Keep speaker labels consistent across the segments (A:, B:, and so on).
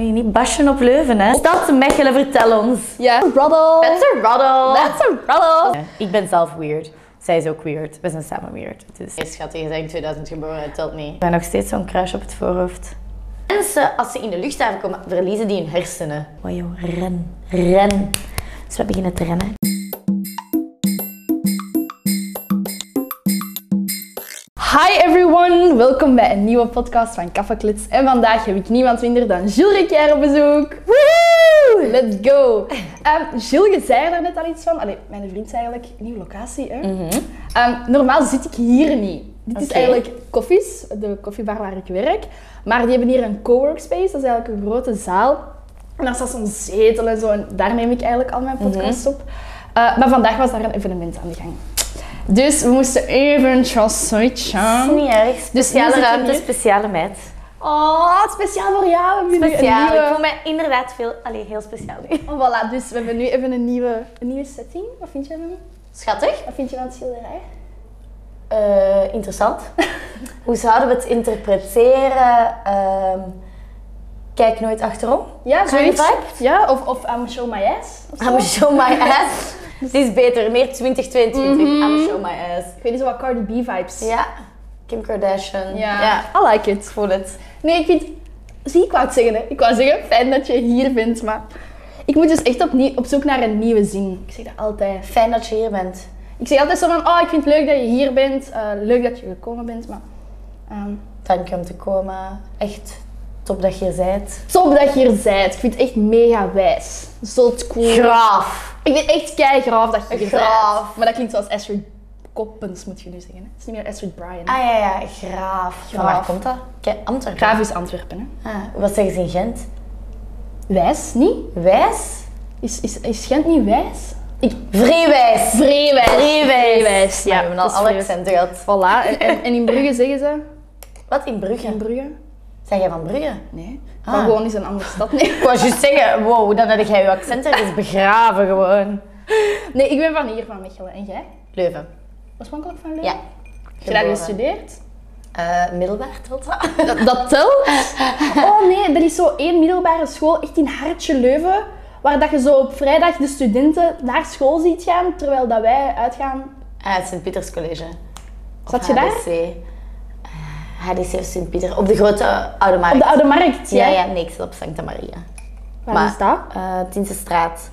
A: Wil je niet bashen op Leuven, hè? Stad Mechelen, vertel ons.
B: Ja. Ruddle.
A: That's a roddel.
B: That's a ruddle.
A: Ik ben zelf weird. Zij is ook weird. We zijn samen weird. Dus ik
C: Nee, schat, je bent in 2000 geboren, dat telt niet.
A: ben nog steeds zo'n crush op het voorhoofd.
C: Mensen, als ze in de luchthaven komen, verliezen die hun hersenen.
A: Oh joh, ren. Ren. Dus we beginnen te rennen.
B: Hi everyone, welkom bij een nieuwe podcast van Kaffeklits. En vandaag heb ik niemand minder dan Jules Riccière op bezoek. Woehoe! Let's go! Ehm Jules, je zei er net al iets van. Allee, mijn vriend zei eigenlijk, nieuwe locatie hè? Ehm, normaal zit ik hier niet. Dit is
C: Oké.
B: eigenlijk Koffies, de koffiebar waar ik werk. Maar die hebben hier een coworkspace, dat is eigenlijk een grote zaal. En daar staat zo'n zetel en zo, en daar neem ik eigenlijk al
A: Mhm.
B: mijn podcasts op. Eh, maar vandaag was daar een evenement aan de gang. Dus we moesten even
A: Dat
B: transition.
A: is niet erg.
B: Dus
A: Speciale
B: nu zit je
A: ruimte,
B: hier.
A: speciale meid.
B: Oh, speciaal voor jou. We hebben nu
A: Speciaal.
B: Een
A: Ik voel
B: nieuwe...
A: me inderdaad veel, allee, heel speciaal nu.
B: Oh, voilà, dus we hebben nu even een nieuwe, een nieuwe setting. Wat vind jij van
C: Schattig?
B: Wat vind je van het schilderij?
C: Eh, interessant. Hoe zouden we het interpreteren? Ehm, kijk nooit achterom.
B: Ja,
C: Kind of
B: Ja, of, of I'm show my ass. of zo.
C: I'm show my ass. Dit is beter, meer 2022.
B: Mhm.
C: I'm show my ass.
B: Ik weet niet zo wat Cardi B vibes.
C: Ja, Kim Kardashian.
B: I like it. Voel het. Nee, ik vind... Zie, ik wou het zeggen, hè. Ik wou zeggen, fijn dat je hier bent, maar... Ik moet dus echt opnieuw, op zoek naar een nieuwe zin. Ik zeg dat altijd.
C: Fijn dat je hier bent.
B: Ik zeg altijd zo van, oh, ik vind het leuk dat je hier bent. eh, leuk dat je gekomen bent, maar... ehm,
C: Dank je om te komen. Echt top dat je hier bent.
B: Top dat je hier bent. Ik vind het echt mega wijs. Zot cool.
C: Graaf.
B: Ik vind echt kei graaf dat je hier
C: Graaf.
B: bent. Maar dat klinkt zoals Astrid Koppens, moet je nu zeggen. Hè? Het is niet meer Astrid Bryan.
C: Ah ja, ja, graaf. Van waar komt dat? Kijk, Antwerpen.
B: Graaf is Antwerpen, hè.
C: Ah, wat zeggen ze in Gent?
B: Wijs, niet?
C: Wijs?
B: Is, is, is Gent niet wijs? Ik...
C: Vreewijs.
B: Vreewijs.
C: Vreewijs.
B: Vreewijs, ja.
C: we hebben al
B: dat is
C: alle
B: vreewijs.
C: accenten gehad.
B: Voilà. En, en, en in Brugge zeggen ze...
C: Wat in Brugge?
B: In Brugge?
C: Zijn jij van Brugge?
B: Nee.
C: Ah.
B: Maar gewoon is een andere stad. Nee.
C: Ik wou juist zeggen, wow, dan heb jij je accent ergens begraven gewoon.
B: nee, ik ben van hier, van Mechelen. En jij?
C: Leuven.
B: Oorspronkelijk van Leuven?
C: Ja.
B: Heb je daar
C: Geboren.
B: gestudeerd?
C: Eh, middelbaar telt dat?
B: Dat telt? Oh nee, er is zo één middelbare school, echt in Hartje Leuven, waar dat je zo op vrijdag de studenten naar school ziet gaan, terwijl dat wij uitgaan.
C: Ah, het Sint-Pieters College. Of
B: Zat je daar?
C: HDC. Eh, HDC of Sint-Pieter. Op de grote Oude Markt.
B: Op de Oude Markt,
C: Ja,
B: ja.
C: ja, nee, ik zat op Santa Maria.
B: Waar
C: Maar-
B: is dat?
C: Eh Tienste straat.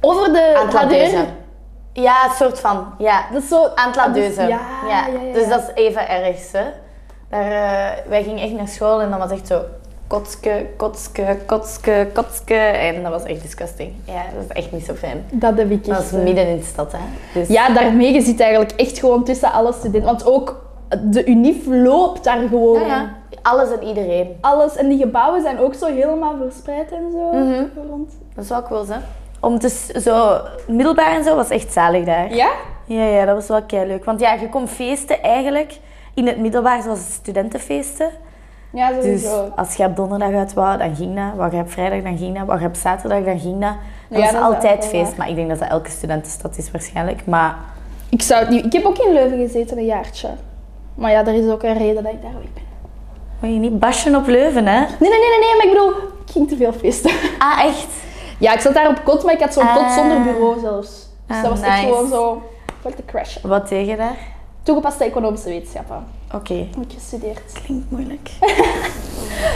B: Over de
C: Aan het Ladeuze.
B: Ladeuren.
C: Ja, een soort van. Ja.
B: Dat is zo... Ah, dus
C: Aan het Ladeuze.
B: Ja, ja, ja, ja.
C: Dus dat is even erg, hè. Daar, eh, wij gingen echt naar school en dan was echt zo kotske, kotske, kotske, kotske. En dat was echt disgusting. Ja, dat is echt niet zo fijn.
B: Dat heb ik
C: Dat
B: echt...
C: is
B: eh,
C: midden in de stad, hè. Dus
B: Ja, daarmee, je zit eigenlijk echt gewoon tussen alle studenten. Want ook de unief loopt daar gewoon.
C: Ja, ja. Alles en iedereen.
B: Alles. En die gebouwen zijn ook zo helemaal verspreid en zo.
C: Mhm.
B: rond.
C: Dat is wel cool, hè. Om te s- zo, middelbaar en zo was echt zalig daar.
B: Ja?
C: Ja, ja, dat was wel kei leuk. Want ja, je kon feesten eigenlijk in het middelbaar, zoals de studentenfeesten.
B: Ja,
C: Dus
B: sowieso.
C: als je op donderdag uit wou, dan ging dat. Waar je op vrijdag, dan ging dat. Waar je op zaterdag, dan ging dat. Dat
B: Ja,
C: was
B: dat is
C: altijd
B: wel
C: feest.
B: waar.
C: Maar ik denk dat dat elke studentenstad is waarschijnlijk. Maar
B: Ik zou het niet... Ik heb ook in Leuven gezeten, een jaartje. Maar ja, er is ook een reden dat ik daar weg ben.
A: Wil je niet bashen op Leuven, hè?
B: Nee, nee, nee, nee, nee, maar ik bedoel, ik ging te veel feesten.
C: Ah, echt?
B: Ja, ik zat daar op kot, maar ik had zo'n kot
C: Ah.
B: zonder bureau zelfs. Dus
C: Ah,
B: dat was echt
C: nice.
B: gewoon zo... Ik werd te crashen.
C: Wat tegen daar?
B: Toegepaste economische wetenschappen.
C: Oké.
B: Heb ik gestudeerd.
C: Klinkt moeilijk.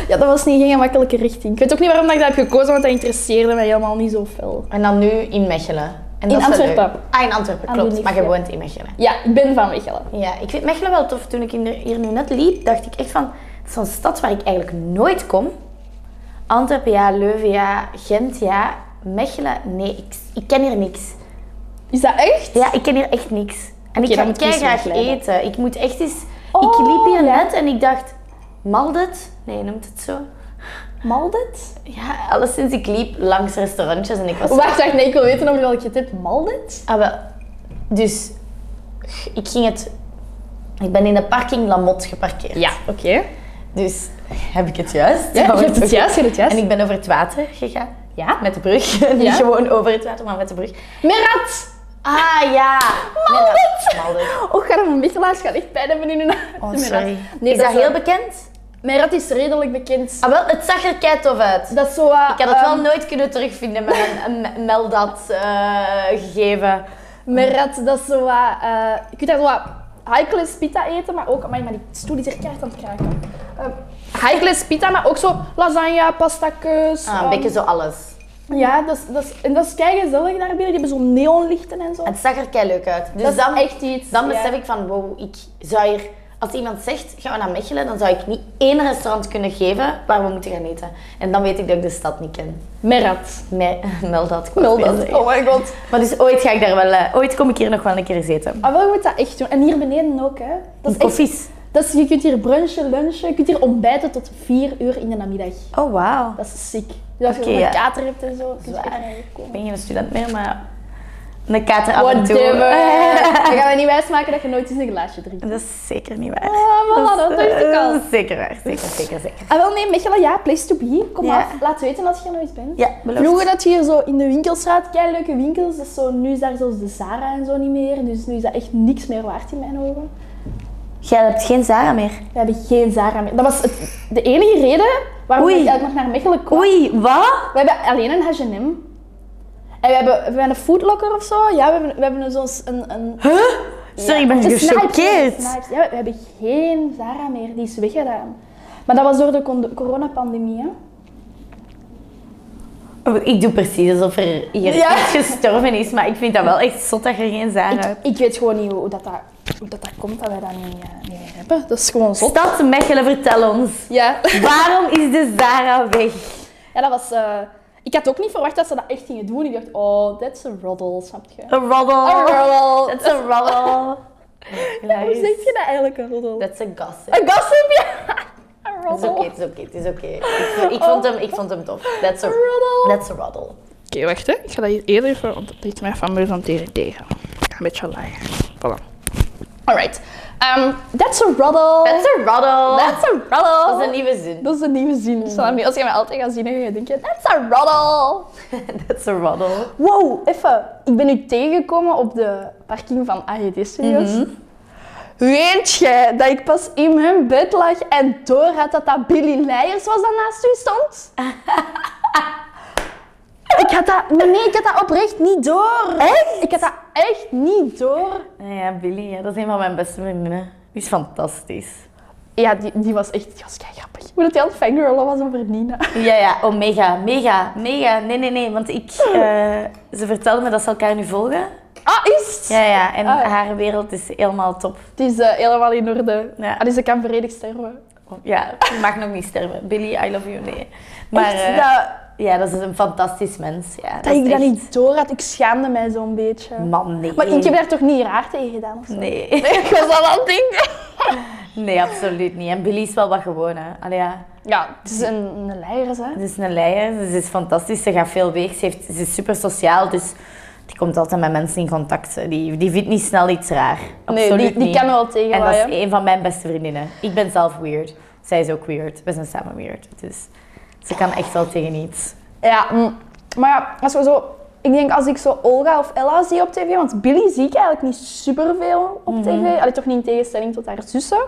B: Ja, dat was niet geen gemakkelijke richting. Ik weet ook niet waarom dat ik dat heb gekozen, want dat interesseerde mij helemaal niet zo veel.
C: En dan nu in Mechelen. En
B: In
C: dat is wel leuk.
B: Antwerpen.
C: Ah, in Antwerpen,
B: Aan de
C: klopt.
B: lief,
C: Maar je
B: ja.
C: woont in Mechelen.
B: Ja, ik ben van Mechelen.
C: Ja, ik vind Mechelen wel tof. Toen ik in de- hier nu net liep, dacht ik echt van... Het is zo'n stad waar ik eigenlijk nooit kom. Antwerpen, ja. Leuven, ja. Gent, ja. Mechelen, nee. Ik, ik ken hier niks.
B: Is dat echt?
C: Ja, ik ken hier echt niks. En
B: Oké, dan
C: ik
B: moet
C: ga dus
B: Chris
C: graag
B: meegeleiden.
C: eten. Ik moet echt eens... ik
B: Oh,
C: liep hier
B: ja.
C: net en ik dacht... Maldet? Nee, noemt het zo?
B: Maldet?
C: Ja, alleszins ik liep langs restaurantjes en ik was... zo-
B: Oh, Wacht, wacht, nee, ik wil weten of je welke tip Maldet?
C: Ah, wel. Dus... Ik ging het... Ik ben in de parking Lamot geparkeerd.
B: oké.
C: Dus heb ik het juist?
B: Ja, je hebt het
C: Oké.
B: juist, je hebt het juist.
C: En ik ben over het water gegaan.
B: Ja?
C: Met de brug. Niet
B: Ja.
C: gewoon over het water, maar met de brug.
B: Merat! Oh,
C: Ah ja! Maldet! Maldet.
B: Och, ga dan van Michelaars gaat echt pijn hebben in hun
C: Oh,
B: de Merat.
C: sorry.
B: Nee,
C: is dat,
B: wel-
C: heel bekend?
B: Meirat is redelijk bekend.
C: Ah, wel, het zag er kei tof uit.
B: Dat is zo wat,
C: Ik had het wel
B: ehm,
C: nooit kunnen terugvinden met een een meldat eh, gegeven.
B: Merat, dat is zo wat... eh, je kunt daar zo wat high-class pita eten, maar ook... Amai, maar die stoel is er keihard aan het kraken. Eh high-class pita, maar ook zo lasagne, pastakeus.
C: Ah, een
B: ehm,
C: beetje zo alles.
B: Ja, dat is, dat is, en dat is kei gezellig daar binnen. Die hebben zo'n neonlichten en zo.
C: Het zag er kei leuk uit. Ah, Dus
B: dat is
C: dan,
B: echt iets.
C: dan besef
B: ja.
C: ik van, wow, ik zou hier... Als iemand zegt, gaan we naar Mechelen, dan zou ik niet één restaurant kunnen geven waar we moeten gaan eten. En dan weet ik dat ik de stad niet ken.
B: Merat.
C: Me- Meldat. ik wou
B: Meldat.
C: zeggen.
B: Oh my god.
C: Maar dus ooit ga ik daar wel... eh, ooit kom ik hier nog wel een keer zitten.
B: Ah, wel, je moet dat echt doen. En hier beneden ook, hè. Dat is echt...
C: Koffies.
B: Dat is, je kunt hier brunchen, lunchen. Je kunt hier ontbijten tot 4 uur in de namiddag.
C: Oh, wauw.
B: Dat is ziek. Dus als je
C: Oké,
B: een
C: ja.
B: kater hebt en zo, kun je
C: Zwaar.
B: echt naar hier
C: Ik
B: komen.
C: ben geen student meer, maar... Een kater af en toe.
B: Whatever. Dan gaan we niet wijsmaken dat je nooit eens een glaasje drinkt.
C: Dat is zeker niet waar.
B: Ah, voilà, dat dacht ik al.
C: Oh, Dat is eh, zeker waar. Zeker, zeker, zeker.
B: Ah, wel nee, Mechelen, ja, place to be. Kom
C: Ja.
B: af, laat weten als je er nooit bent.
C: Ja, beloofd.
B: Vroeger dat je hier zo in de winkelstraat, kei leuke winkels, dus zo, nu is daar zelfs de Zara en zo niet meer. Dus nu is dat echt niks meer waard in mijn ogen.
C: Jij hebt geen Zara meer.
B: We hebben geen Zara meer. Dat was het- de enige reden waarom
C: Oei.
B: ik eigenlijk nog naar Mechelen kwam.
C: Oei, wat?
B: We hebben alleen een H&M. En we hebben, we hebben een Foodlocker of zo. Ja, we hebben, we hebben zo'n... s- Een, een,
C: Sorry,
B: ja,
C: ik ben
B: de Snipes, de
C: gechoqueerd.
B: Snipes. Ja, we hebben geen Zara meer. Die is weggedaan. Maar dat was door de con- coronapandemie, hè.
C: Oh, Ik doe precies alsof er hier
B: Ja.
C: iets gestorven is, maar ik vind dat wel echt zot dat je geen Zara
B: Ik,
C: hebt.
B: ik weet gewoon niet hoe dat, dat, hoe dat, dat komt dat wij dat niet, eh, niet meer hebben. Dat is gewoon zot.
C: Stad Mechelen, vertel ons.
B: Ja.
C: Waarom is de Zara weg?
B: ja, dat was... eh, ik had ook niet verwacht dat ze dat echt gingen doen. Ik dacht, oh, that's a roddle, snap je?
C: Een Oh.
B: Een
C: roddle.
B: roddle.
C: That's a roddle.
B: Hoe zeg je dat eigenlijk, een roddle?
C: That's a gossip.
B: Een gossip, ja. Een
C: Het is
B: roddle.
C: oké, het is oké, het is oké. Ik vond- Ik vond hem- ik vond hem tof. That's a
B: Roddle.
C: That's a roddle.
B: Oké, wacht hè. Ik ga dat hier eerder voor, want dat iets mij van me van tegen tegen.
D: een beetje laag. Voilà.
B: Alright. Ehm, that's a roddle.
C: That's a roddle.
B: That's a roddle.
C: Dat is een nieuwe zin.
B: Dat is een nieuwe zin. Zolang je- Als je mij altijd gaat zien, dan ga je denken, that's a roddle.
C: That's a roddle.
B: Wow, even. Ik ben u tegengekomen op de parking van AGD Studios. Weet jij dat ik pas in mijn bed lag en door had dat dat Billy Leijers was dat naast u stond? ik had dat... Nee, nee, ik had dat oprecht niet door. Echt? Ik had dat echt niet door.
C: Nou Ja, Billy, ja, dat is een van mijn beste vriendinnen. Die is fantastisch.
B: Ja, die, die was echt... Die was kei grappig. Hoe dat hij aan het fangirlen was over Nina.
C: Ja, ja, oh mega, mega, mega. Nee, nee, nee, want ik, eh, ze vertelde me dat ze elkaar nu volgen.
B: Ah, is het?
C: Ja, ja, en
B: Ah.
C: haar wereld is helemaal top.
B: Het is eh, helemaal in orde.
C: Ja.
B: Ah, dus ik kan vredig sterven.
C: Ja, je mag nog niet sterven. Billy, I love you, nee. Maar
B: Echt,
C: eh,
B: dat-
C: ja, dat is een fantastisch mens. Ja,
B: Dat
C: is
B: ik dat
C: echt-
B: niet door had, ik schaamde mij zo'n beetje.
C: Man, nee.
B: Maar ik heb daar toch niet raar tegen gedaan? of zo?
C: Nee.
B: Ik was al aan het denken.
C: nee, absoluut niet. En Billy is wel wat gewoon, hè. Allee, ja.
B: Ja, het is een, een leier, hè?
C: Ze is een leier, ze is fantastisch, ze gaat veel weg, ze, heeft, ze is super sociaal, dus die komt altijd met mensen in contact. Die, die vindt niet snel iets raar.
B: Nee,
C: Absoluut
B: die, die
C: niet.
B: kan wel tegen
C: En dat
B: waaien.
C: is een van mijn beste vriendinnen. Ik ben zelf weird, zij is ook weird, we zijn samen weird. Dus ze kan echt wel tegen iets.
B: Ja, mm. maar ja, als we zo... Ik denk als ik zo Olga of Ella zie op tv, want Billy zie ik eigenlijk niet superveel op tv. Allee, toch niet in tegenstelling tot haar zussen.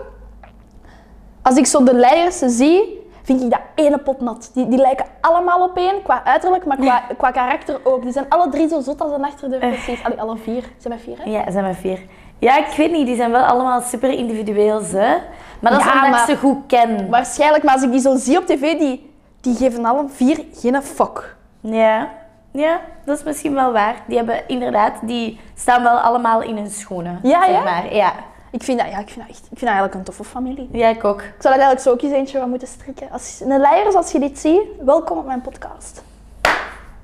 B: Als ik zo de leiders zie, vind ik dat ene pot nat. Die, die lijken allemaal op één, qua uiterlijk, maar qua, qua karakter ook. Die zijn alle drie zo zot als een achterdeur precies. Allee, alle vier. Zijn wij vier, hè?
C: Ja, er zijn maar vier. Ja, ik weet niet, die zijn wel allemaal super individueel, ze. Maar dat is
B: Ja,
C: omdat
B: maar-
C: ik ze goed ken.
B: Waarschijnlijk, maar als ik die zo zie op tv, die, die geven alle vier geen fuck.
C: Ja. ja, dat is misschien wel waar. Die hebben inderdaad, die staan wel allemaal in hun schoenen.
B: Ja,
C: zeg
B: ja?
C: Maar. ja.
B: Ik vind dat, ja, ik vind dat, echt, ik vind dat eigenlijk een toffe familie.
C: Ja, ik ook.
B: Ik zou daar eigenlijk zo ook eens eentje van moeten strikken. Als, een leiders, als je dit ziet, welkom op mijn podcast.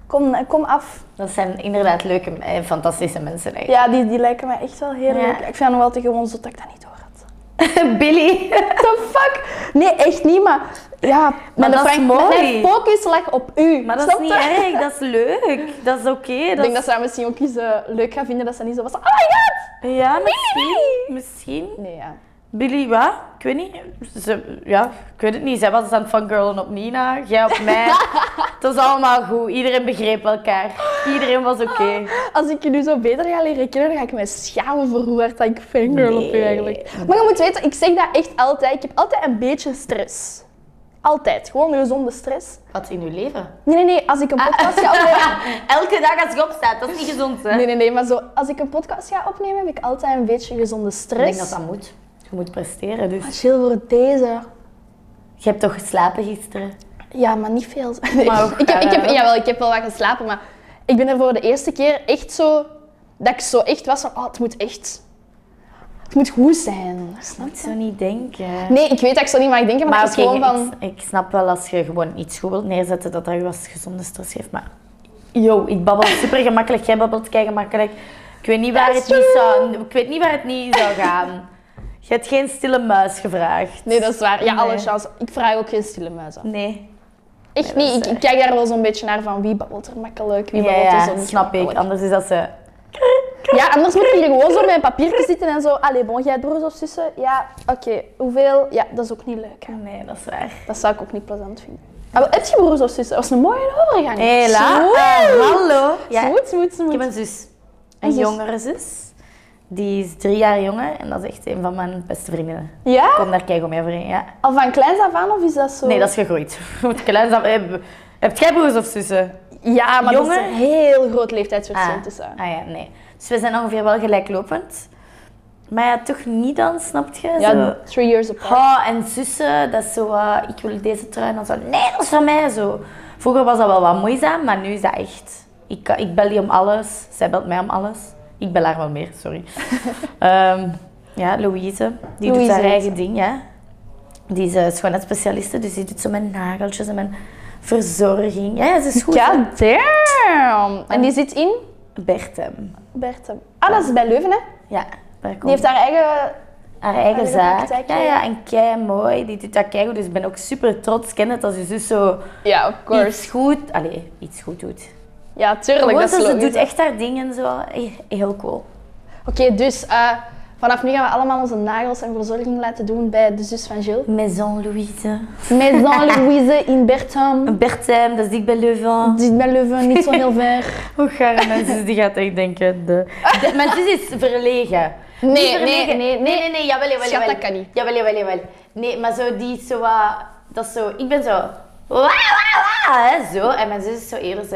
B: Kom, eh, kom af.
C: Dat zijn inderdaad leuke en fantastische mensen eigenlijk.
B: Ja, die, die lijken mij echt wel heel
C: Ja.
B: leuk. Ik vind dat nog wel te gewoon zot dat ik dat niet door had.
C: Billy.
B: The fuck? Nee, echt niet, maar... Ja, mijn,
C: dat is
B: frank-
C: mooi.
B: mijn focus lag op u.
C: Maar dat is
B: snap
C: niet
B: je?
C: erg, dat is leuk. Dat is oké.
B: Ik
C: dat
B: denk dat
C: is-
B: ze dat misschien ook eens eh, leuk gaan vinden, dat ze niet zo was. Oh my god!
C: Ja, misschien. Misschien.
B: Nee, ja.
C: Billy, wat? Ik weet niet. Ze, ja, ik weet het niet. Zij was aan het fangirlen op Nina, jij op mij. het was allemaal goed. Iedereen begreep elkaar.
A: Iedereen was oké.
B: Als ik je nu zo beter ga leren kennen, dan ga ik mij schamen voor hoe hard dat ik fangirl op je eigenlijk. Maar je moet weten, ik zeg dat echt altijd. Ik heb altijd een beetje stress. Altijd. Gewoon een gezonde stress.
C: Wat in uw leven?
B: Nee, nee, nee. Als ik een podcast ga opnemen...
C: Elke dag als je opstaat, dat is niet gezond, hè?
B: Nee, nee, nee. Maar zo, als ik een podcast ga opnemen, heb ik altijd een beetje gezonde
C: Ik denk
B: stress.
C: dat dat moet. Je moet presteren, dus.
B: Maar Ah, chill voor deze.
C: Je hebt toch geslapen gisteren?
B: Ja, maar niet veel. Nee.
C: Maar ook,
B: ik, heb, ik, heb,
C: eh,
B: jawel, ik heb wel wat geslapen, maar ik ben er voor de eerste keer echt zo... Dat ik zo echt was van, oh, het moet echt... Het moet goed zijn. Snap
C: Ik zou niet denken.
B: Nee, ik weet dat ik zo niet mag denken, maar,
C: Maar
B: het is
C: oké,
B: gewoon van...
C: ik, ik snap wel als je gewoon iets goed wilt neerzetten, dat dat je wat gezonde stress geeft. Maar yo, ik babbel super gemakkelijk, jij babbelt kei gemakkelijk. Ik weet niet waar, het
B: That's
C: niet, zou, ik weet niet waar het niet zou gaan. Je hebt geen stille muis gevraagd.
B: Nee, dat is waar. Ja,
C: Nee.
B: alle chance. Ik vraag ook geen stille muis aan.
C: Nee.
B: Echt
C: Nee, dat
B: niet.
C: is
B: Ik, ik kijk daar wel zo'n beetje naar van wie babbelt er makkelijk, wie
C: Ja,
B: babbelt dus er zo
C: ja,
B: niet
C: snap ik.
B: makkelijk.
C: Anders is dat ze...
B: Ja, anders moet ik hier gewoon zo met een papiertje zitten en zo. Allee, bon, jij hebt broers of zussen? Ja, oké. Hoeveel? Ja, dat is ook niet leuk. hè.
C: Nee, dat is waar.
B: Oh, Dat zou ik ook niet plezant vinden. Maar wel, heb je broers of zussen? Dat was een mooie overgang.
C: Hela,
B: Smooth,
C: eh, hallo. Ja,
B: smooth, smooth,
C: ik heb
B: smooth.
C: een zus. Een
B: zus.
C: jongere zus. Die is drie jaar jonger en dat is echt een van mijn beste vriendinnen. Ik
B: Ja?
C: kom daar kei goed mee overeen, ja.
B: Al van kleins af aan of is dat zo?
C: Nee, dat is gegroeid. Moet klein zijn. Heb, Eh, heb jij broers of zussen?
B: Ja, maar dat
C: jonger.
B: is een heel groot leeftijdsverschil tussen.
C: ah ja, nee. Dus we zijn ongeveer wel gelijklopend. Maar ja, toch niet dan, snap je?
B: Ja,
C: Zo,
B: three years apart.
C: "Ha, en zussen, dat is zo, eh, ik wil deze trui en dan zo, nee, dat is van mij, zo. Vroeger was dat wel wat moeizaam, maar nu is dat echt. Ik, kan- ik bel die om alles, zij belt mij om alles. Ik bel haar wel meer, sorry. Ehm, ja, Louise, die
B: Louise
C: doet haar
B: heet
C: eigen ding, ja. Die is eh, schoonheidsspecialiste, dus die doet zo mijn nageltjes en mijn verzorging. Ja, ze is goed. hè.
B: God damn! En die zit in
C: Bertem.
B: Bertem. Ah, dat is bij Leuven, hè?
C: Ja, daar komt
B: Die heeft haar eigen...
C: haar eigen
B: Eigen
C: zaak.
B: praktijk,
C: Ja,
B: ja.
C: ja, en kei mooi. Die doet dat kei goed. Dus ik ben ook super trots. Ik Ken het als je zus zo
B: Ja, of
C: iets goed, allee, iets goed doet.
B: Ja, tuurlijk,
C: Gewoon
B: dat is
C: zo, ze
B: logisch.
C: doet echt haar ding en zo. Eh, Heel cool.
B: Oké, dus eh, vanaf nu gaan we allemaal onze nagels en verzorging laten doen bij de zus van Gilles.
C: Maison Louise.
B: Maison Louise in Bertem.
C: Bertem, dat is dik bij Leuven.
B: Zit bij Leuven, niet zo heel ver.
C: Hoe gaar mijn zus, die gaat echt denken. De... De- mijn zus is verlegen.
B: Nee,
C: Niet verlegen.
B: nee, nee, nee.
C: nee, nee, jawel, jawel,
B: Schat,
C: jawel.
B: dat kan niet.
C: Jawel, jawel, jawel. Nee, maar zo, die is zo wat, dat is zo, ik ben zo, wa, wa, wa, hè, zo. En mijn zus is zo eerder zo,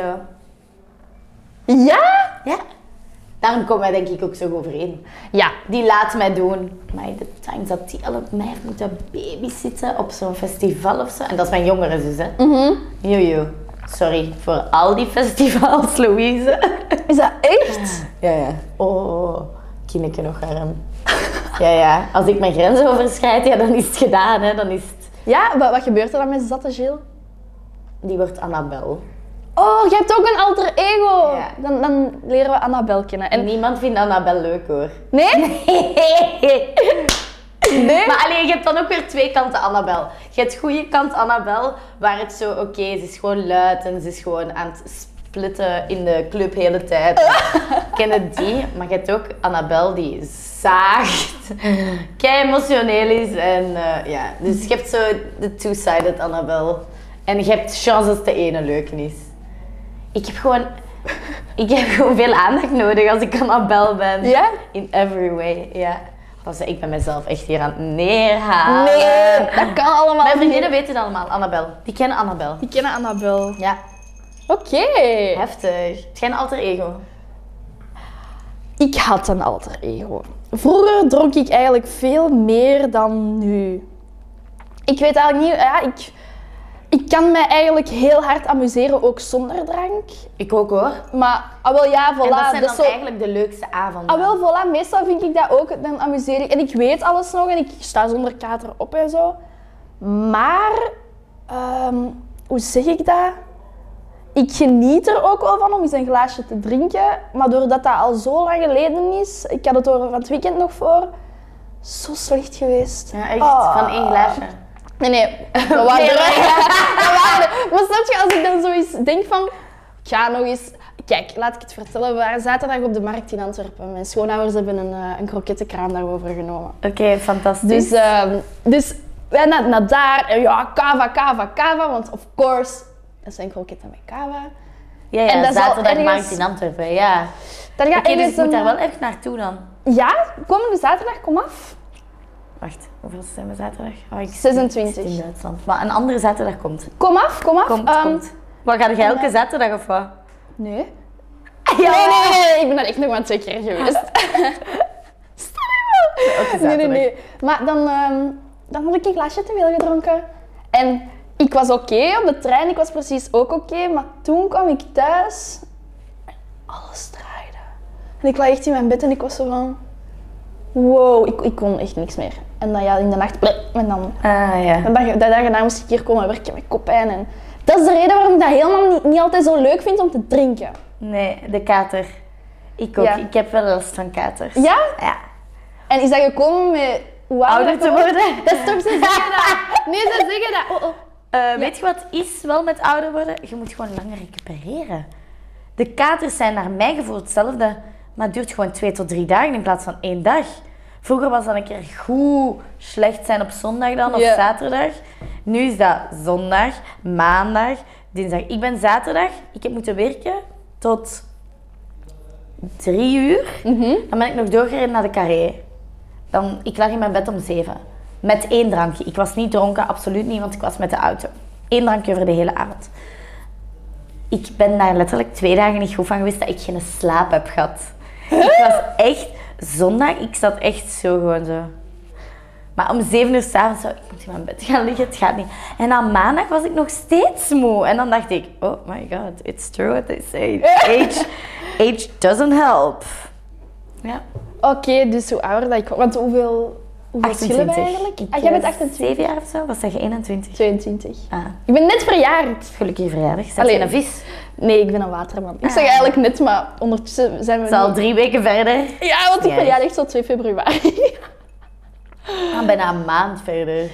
B: Ja?
C: Ja. Daarom komen wij denk ik ook zo goed overeen.
B: Ja.
C: Die laat mij doen. Maar de times dat die alle mij heeft moeten babysitten op zo'n festival of zo. En dat is mijn jongere zus, hè?
B: Mhm.
C: Jojo. Sorry voor al die festivals, Louise.
B: Is dat echt?
C: Ja, ja. Oh, kindje nog arm. Ja, ja. Als ik mijn grens overschrijd, ja, dan is het gedaan, hè. Dan is het...
B: Ja, wat, wat gebeurt er dan met zatte Gilles?
C: Die wordt Annabel.
B: Oh, je hebt ook een alter ego.
C: Ja.
B: Dan, dan leren we Annabel kennen. En...
C: En niemand vindt Annabel leuk, hoor.
B: Nee? Nee?
C: Maar alleen, je hebt dan ook weer twee kanten Annabel. Je hebt goede kant Annabel, waar het zo, oké, ze is gewoon luid en ze is gewoon aan het splitten in de club de hele tijd. Kennen die, maar je hebt ook Annabel die zaagt, kei emotioneel is en eh, ja. Dus je hebt zo de two-sided Annabel. En je hebt chance dat de ene leuk is. Ik heb gewoon, ik heb gewoon veel aandacht nodig als ik Annabel ben.
B: Ja?
C: In every way, ja. Als ik ben mezelf echt hier aan het neerhalen.
B: Nee, Ah. dat kan allemaal
C: Mijn vriendinnen
B: niet.
C: weten het allemaal, Annabel. Die kennen Annabel.
B: Die kennen Annabel.
C: Ja,
B: Oké.
C: heftig. Het is geen alter ego.
B: Ik had een alter ego. Vroeger dronk ik eigenlijk veel meer dan nu. Ik weet eigenlijk niet, ja, ik, ik kan me eigenlijk heel hard amuseren, ook zonder drank.
C: Ik ook hoor.
B: Maar, ah wel ja, voilà.
C: en dat zijn
B: dus
C: dan
B: zo-
C: eigenlijk de leukste avonden.
B: Ah wel, voilà, meestal vind ik dat ook, dan amuseer ik. En ik weet alles nog en ik sta zonder kater op en zo. Maar, ehm, hoe zeg ik dat? Ik geniet er ook wel van om eens een glaasje te drinken. Maar doordat dat al zo lang geleden is, ik had het er van het weekend nog voor, zo slecht geweest.
C: Ja, echt.
B: Ah.
C: Van één glaasje.
B: Nee, nee. Dat waren
C: Nee,
B: er-
C: maar-
B: dat waren er- Maar snap je, als ik dan zoiets denk van... Ik ga nog eens... Kijk, laat ik het vertellen. We waren zaterdag op de markt in Antwerpen. Mijn schoonouders hebben een, eh, een krokettenkraam daarover genomen.
C: Oké, fantastisch.
B: Dus, ehm, dus wij naar, naar eh, daar. En ja, kava, kava, kava. Want of course, dat zijn kroketten met kava.
C: Ja, ja,
B: En dat is al
C: zaterdagmarkt
B: ergens-
C: in Antwerpen, ja.
B: Daar ga
C: Oké,
B: ik
C: dus ik moet daar wel echt naartoe dan.
B: Ja, komende zaterdag, kom af.
C: Wacht, hoeveel zijn we zaterdag? Oh, ik
B: 26.
C: zit in Duitsland. Maar een andere zaterdag komt.
B: Kom af, kom af.
C: Komt,
B: Ehm,
C: komt. Wat, ga jij elke zaterdag of wat?
B: Nee. Nee, nee, nee, nee, ik ben daar echt nog maar twee keer geweest. Stel Nee, nee, nee. Maar dan, ehm, dan had ik een glaasje te veel gedronken. En ik was oké op de trein, ik was precies ook oké, maar toen kwam ik thuis en alles draaide. En ik lag echt in mijn bed en ik was zo van... Wow, ik, ik kon echt niks meer. En dan ja, in de nacht... bleh, En dan
C: Ah, ja.
B: en de dagen daarna moest ik hier komen werken met koppijn. En dat is de reden waarom ik dat helemaal niet, niet altijd zo leuk vind om te drinken.
C: Nee, de kater. Ik ook.
B: Ja.
C: Ik heb wel last van katers.
B: Ja?
C: Ja.
B: En is dat gekomen met hoe
C: Ouder te worden.
B: Dat is toch, ze zeggen dat. Nee, ze zeggen dat. Oh, oh.
C: Eh, Weet je wat is wel met ouder worden? Je moet gewoon langer recupereren. De katers zijn naar mijn gevoel hetzelfde, maar het duurt gewoon twee tot drie dagen in plaats van één dag. Vroeger was dat een keer goed slecht zijn op zondag dan of
B: Ja.
C: zaterdag. Nu is dat zondag, maandag, dinsdag. Ik ben zaterdag, ik heb moeten werken tot drie uur. Dan ben ik nog doorgereden naar de carré. Dan, ik lag in mijn bed om zeven. Met één drankje. Ik was niet dronken, absoluut niet, want ik was met de auto. Eén drankje voor de hele avond. Ik ben daar letterlijk twee dagen niet goed van geweest dat ik geen slaap heb gehad. Ik was echt... Zondag, ik zat echt zo gewoon zo. Maar om zeven uur s'avonds zou ik moet in mijn bed gaan liggen, het gaat niet. En dan maandag was ik nog steeds moe. En dan dacht ik, oh my god, it's true what they say. Age, age doesn't help. Ja.
B: Oké, dus hoe ouder dat ik word. Want hoeveel, hoeveel verschillen wij eigenlijk?
C: Ik
B: Ah, jij bent
C: was
B: 28.
C: Zeven jaar of zo? Was zeg je 21?
B: 22.
C: Ah,
B: Ik ben net verjaard.
C: gelukkig verjaardag. Zet
B: Allee.
C: je een vis?
B: Nee, ik ben een waterman. Ik zeg
C: Ah.
B: eigenlijk net, maar ondertussen zijn we
C: Het is al
B: niet-
C: drie weken verder.
B: Ja, want ik
C: Ja.
B: verjaardag is tot 2 februari.
C: Ah, bijna een maand verder.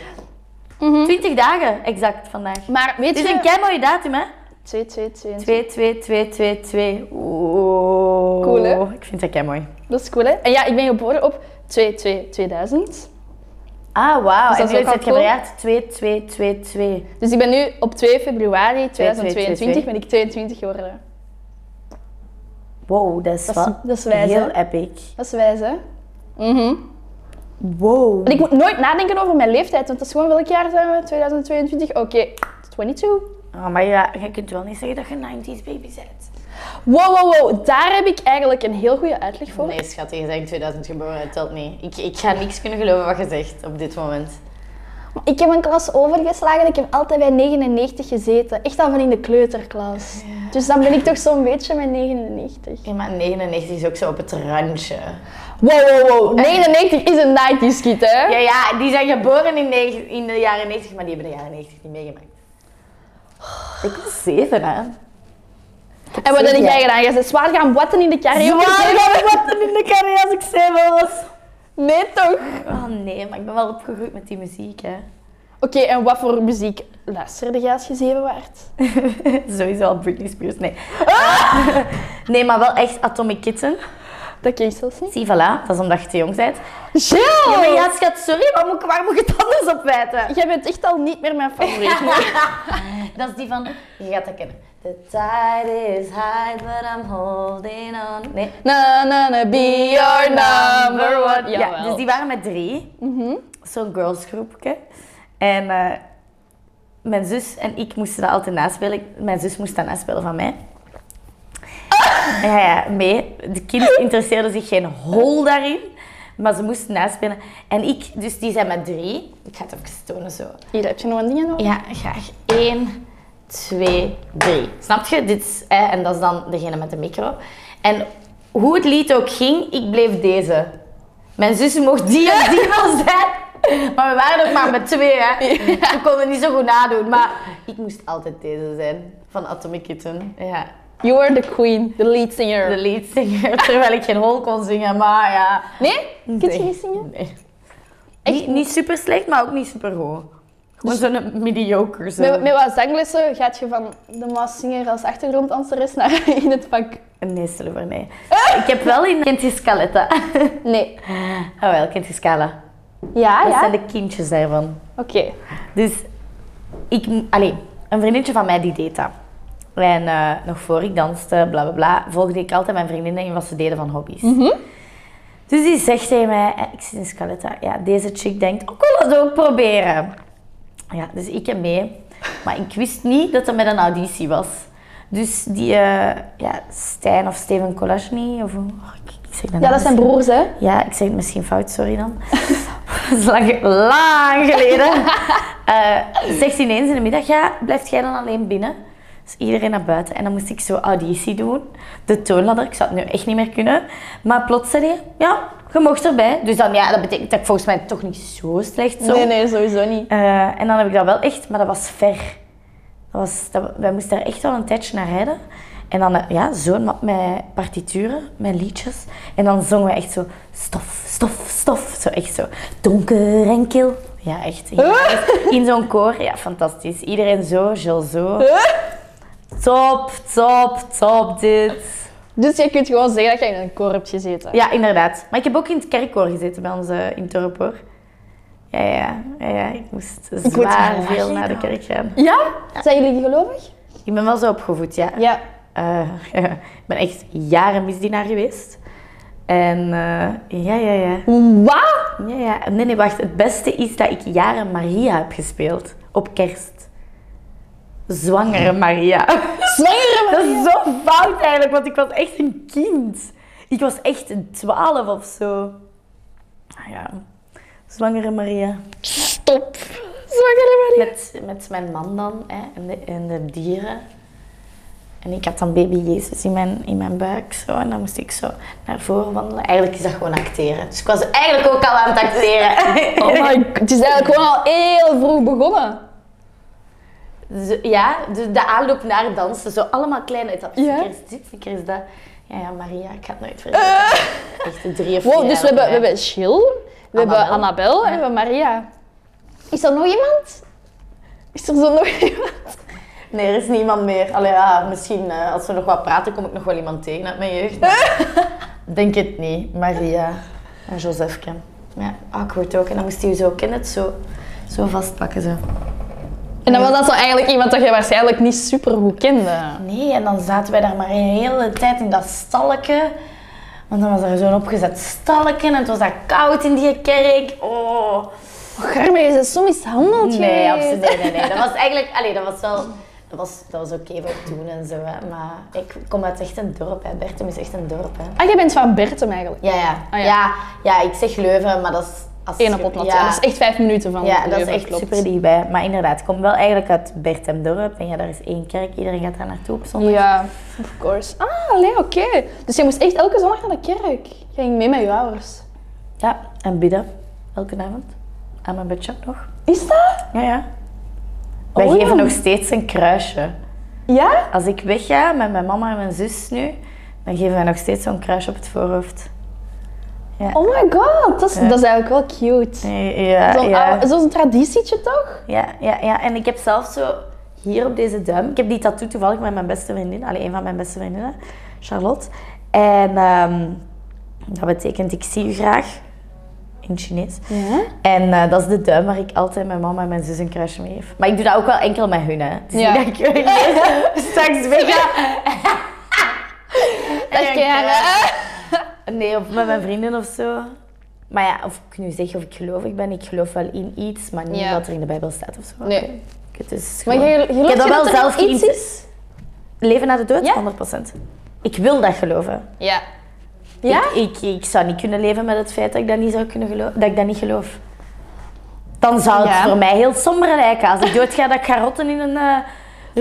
B: Mhm.
C: 20 dagen exact vandaag.
B: Maar weet
C: Het is een
B: je...
C: kei mooie datum, hè?
B: 2, 2, 2.
C: 2, 2, 2, 2, 2. Oeh.
B: Cool, hè?
C: Ik vind dat kei mooi.
B: Dat is cool, hè? En ja, ik ben geboren op 2, 2, 2000.
C: Ah, wauw.
B: dat
C: en
B: is
C: nu
B: ook
C: is
B: al
C: het
B: cool.
C: gebracht 2, 2, 2, 2.
B: Dus ik ben nu op 2 februari 2022
C: 2022
B: ben ik 22 geworden.
C: Wow, dat is
B: Dat is-
C: wel
B: dat is wijs,
C: heel
B: hè?
C: epic.
B: Dat is wijs, hè? Mhm.
C: Wow.
B: En ik moet nooit nadenken over mijn leeftijd, want dat is gewoon welk jaar zijn we? 2022? Oké, 22.
C: Oh, maar ja, je kunt wel niet zeggen dat je een 90s baby bent.
B: Wow, wow, wow. Daar heb ik eigenlijk een heel goede uitleg voor.
A: Nee, schat, je bent in 2000 geboren, dat telt niet. Ik, ik ga niks kunnen geloven wat je zegt op dit moment.
B: Maar Ik heb een klas overgeslagen en ik heb altijd bij 99 gezeten. Echt al van in de kleuterklas. Dus dan ben ik toch zo'n beetje met 99.
A: Oh, Ja, maar 99 is ook zo op het randje.
B: Wow, wow, wow. 99 is een 90s kid, hè?
A: Ja, ja, die zijn geboren in, negen- in de jaren 90, maar die hebben de jaren 90 niet meegemaakt.
C: Oh. Ik was zeven, hè?
B: En wat heb jij gedaan? Jij bent zwaar gaan watten in de carrière.
C: wat in de carrière als ik zeven was.
B: Nee, toch?
C: Oh nee, maar ik ben wel opgegroeid met die muziek, hè.
B: Oké, en wat voor muziek luisterde jij als je zeven waard?
C: Sowieso al Britney Spears, nee.
A: Ah!
C: nee, maar wel echt Atomic Kitten.
B: Dat ken ik zelfs niet.
C: Zie, voilà, dat is omdat je te jong bent.
A: Oh.
B: Jill!
C: Ja, maar ja, schat, sorry, maar moet ik- waar moet ik het anders op wijten?
B: Jij bent echt al niet meer mijn favoriet.
C: Dat is die van, je gaat dat kennen. The tide is high, but I'm holding on. Nee.
B: na, na, na, be your number one.
C: Ja,
B: Jawel. Mhm.
C: dus die waren met drie. Zo'n girlsgroepje. En eh, mijn zus en ik moesten dat altijd naspelen. Ik- Mijn zus moest dat naspelen van mij. Ja, ja, mee. De kind interesseerde zich geen hol daarin. Maar ze moesten naspelen. En ik, dus die zijn met drie. Ik ga het even tonen zo.
B: Hier heb je nog een ding nodig.
C: Ja, graag. 1, 2, 3. Snap je? Dit is, hè, en dat is dan degene met de micro. En hoe het lied ook ging, ik bleef deze. Mijn zus mocht die of die wel zijn. Maar we waren ook maar met twee, hè. We konden niet zo goed nadoen. Maar ik moest altijd deze zijn. Van Atomic Kitten. Ja.
B: You are the queen, the lead singer.
C: De lead singer. Terwijl ik geen hol kon zingen, maar ja.
B: Nee? Kun je
C: Nee.
B: niet zingen?
C: Nee. Niet, niet super slecht, maar ook niet super goed. Gewoon zo'n mediocre. Zo.
B: Met, met wat zanglessen gaat je van de maaszinger als achtergronddanseres naar in het vak.
C: Nee, stel voor nee. Ik heb wel in Kinti Scaletta.
B: Nee.
C: Oh wel, Kinti Scala.
B: Ja,
C: Dat
B: ja.
C: zijn
B: Oké.
C: de kindjes daarvan. Dus ik, allee, een vriendinnetje van mij die deed dat. En eh, nog voor ik danste, bla bla bla, volgde ik altijd mijn vriendinnen in wat ze deden van hobby's.
B: Mhm.
C: Dus die zegt tegen mij, eh, ik zit in Scaletta, ja, deze chick denkt, "Oh, ik wil dat ook proberen. Ja, dus ik heb mee. Maar ik wist niet dat dat met een auditie was. Dus die, eh, ja, Stijn of Steven Kolashny, of hoe- oh, ik, ik zeg de
B: Ja,
C: naam
B: dat zijn
C: misschien-
B: broers, hè?
C: ja, ik zeg het misschien fout, sorry dan. Dat is lang, lang geleden. Eh zegt hij ineens in de middag, ja, blijft jij dan alleen binnen? Dus iedereen naar buiten. En dan moest ik zo auditie doen. De toonladder, ik zou het nu echt niet meer kunnen. Maar plots zei hij, ja, je mocht erbij. Dus dan, ja, dat betekent dat ik volgens mij toch niet zo slecht zo.
B: Nee, nee, sowieso niet.
C: Eh, en dan heb ik dat wel echt, maar dat was ver. Dat was, dat, wij moesten daar echt wel een tijdje naar rijden. En dan, eh, ja, zo'n map met partituren, met liedjes. En dan zongen we echt zo, stof, stof, stof. Zo echt zo, donker en kil. Ja, echt. In zo'n koor, ja, fantastisch. Iedereen zo, Jules zo. Top, top, top dit.
B: Dus je kunt gewoon zeggen dat je in een koor hebt gezeten.
C: Ja, inderdaad. Maar ik heb ook in het kerkkoor gezeten bij ons eh, in Torp, hoor. Ja, ja, ja, ja. Ik moest zwaar
B: lachen,
C: veel naar de kerk gaan.
B: Ja? Zijn jullie gelovig?
C: Ik ben wel zo opgevoed, ja.
B: Ja.
C: Eh, ik ben echt jaren misdienaar geweest. En eh, ja, ja, ja,
B: Wat?
C: ja, ja. Nee, nee, wacht. Het beste is dat ik jaren Maria heb gespeeld. Op kerst. Zwangere Maria.
B: Zwangere
C: Dat is zo fout eigenlijk, want ik was echt een kind. Ik was echt een twaalf of zo. Nou ja, zwangere Maria.
B: Stop. Zwangere Maria.
C: Met, met mijn man dan hè, en, de, en de dieren. En ik had dan baby Jezus in mijn, in mijn buik zo. En dan moest ik zo naar voren wandelen. Eigenlijk is dat gewoon acteren. Dus ik was eigenlijk ook al aan het acteren.
B: Oh my god. Het is eigenlijk gewoon al heel vroeg begonnen.
C: Zo- Dus, ja, de, de aanloop naar dansen. Zo allemaal kleine etappes.
B: Ja.
C: Een keer is dit, een keer is dat. Ja, ja, Maria, ik ga het nooit vergeten. Echt drie of
B: Wow,
C: vier jaar
B: dus we hebben, we
C: op rij.
B: hebben Jill, we hebben
C: Annabel.
B: Annabel en we hebben Maria. Is er nog iemand? Is er zo nog iemand?
C: Nee, er is niemand meer. Allee, ja, misschien eh, als we nog wat praten, kom ik nog wel iemand tegen uit mijn jeugd. maar Denk het niet. Maria en Josefke. Ja, awkward ook. En dan moest hij je zo kennen, zo, zo vastpakken. Zo.
B: En dan was dat zo eigenlijk iemand dat je waarschijnlijk niet super goed kende.
C: Nee, en dan zaten wij daar maar een hele tijd in dat stalletje. Want dan was er zo'n opgezet stalletje en het was daar koud in die kerk. Oh.
B: Garme, je bent zo mishandeld
C: Nee,
B: geweest.
C: absoluut. Nee, nee, nee. Dat was eigenlijk, allee, dat was wel, dat was, dat was oké voor toen en zo. Hè. Maar ik kom uit echt een dorp, hè. Bertum is echt een dorp, hè.
B: Ah, jij bent van Bertum eigenlijk.
C: Ja, ja.
B: Ah, ja.
C: ja. ja. ik zeg Leuven, maar dat is... Als
B: Eén op Opnat, ja. Dat is echt vijf minuten van
C: ja, dat is
B: Leuven,
C: echt
B: klopt.
C: super dichtbij. Maar inderdaad, ik kom wel eigenlijk uit Bertemdorp. En ja, daar is één kerk. Iedereen gaat daar naartoe op zondag.
B: Ja, Oh of course. Ah, nee, oké. Dus je moest echt elke zondag naar de kerk. Je ging mee met je ouders.
C: Ja, en bidden. Elke avond. Aan mijn bedje nog.
B: Is dat?
C: Ja, ja. Wij
B: Oh, ja.
C: geven nog steeds een kruisje.
B: Ja?
C: Als ik wegga met mijn mama en mijn zus nu, dan geven wij nog steeds zo'n kruisje op het voorhoofd.
B: Oh my god, dat is, dat is eigenlijk wel cute.
C: Ja,
B: Zo'n
C: ja.
B: oude- Zo'n traditietje toch?
C: Ja, ja, ja. En ik heb zelf zo hier op deze duim. Ik heb die tattoo toevallig met mijn beste vriendin. Allee, een van mijn beste vriendinnen, Charlotte. En ehm, dat betekent ik zie u graag in het Chinees.
B: Ja.
C: En eh, dat is de duim waar ik altijd mijn mama en mijn zus een kruisje mee geef. Maar ik doe dat ook wel enkel met hun, hè. Het is
B: Ja.
C: niet dat ik straks wegga.
B: Dat
C: Ja,
B: je haar,
C: ja. eh, Nee, of met mijn vrienden of zo. Maar ja, of ik nu zeg of ik gelovig ben, ik geloof wel in iets, maar niet
B: Ja.
C: wat er in de Bijbel staat of zo.
B: Nee.
C: Ik- Het is
B: Maar
C: gewoon-
B: jij
C: ik
B: gelooft
C: heb dat
B: je
C: wel
B: dat er
C: zelf
B: nog iets
C: geïnter-
B: is?
C: Leven na de dood?
B: Ja.
C: 100%. Ik wil dat geloven.
B: Ja. Ja?
C: Ik, ik, ik zou niet kunnen leven met het feit dat ik dat niet, zou kunnen gelo- dat ik dat niet geloof. Dan zou het
B: Ja.
C: voor mij heel somber lijken. Als ik doodga, dat ik ga rotten in een, eh,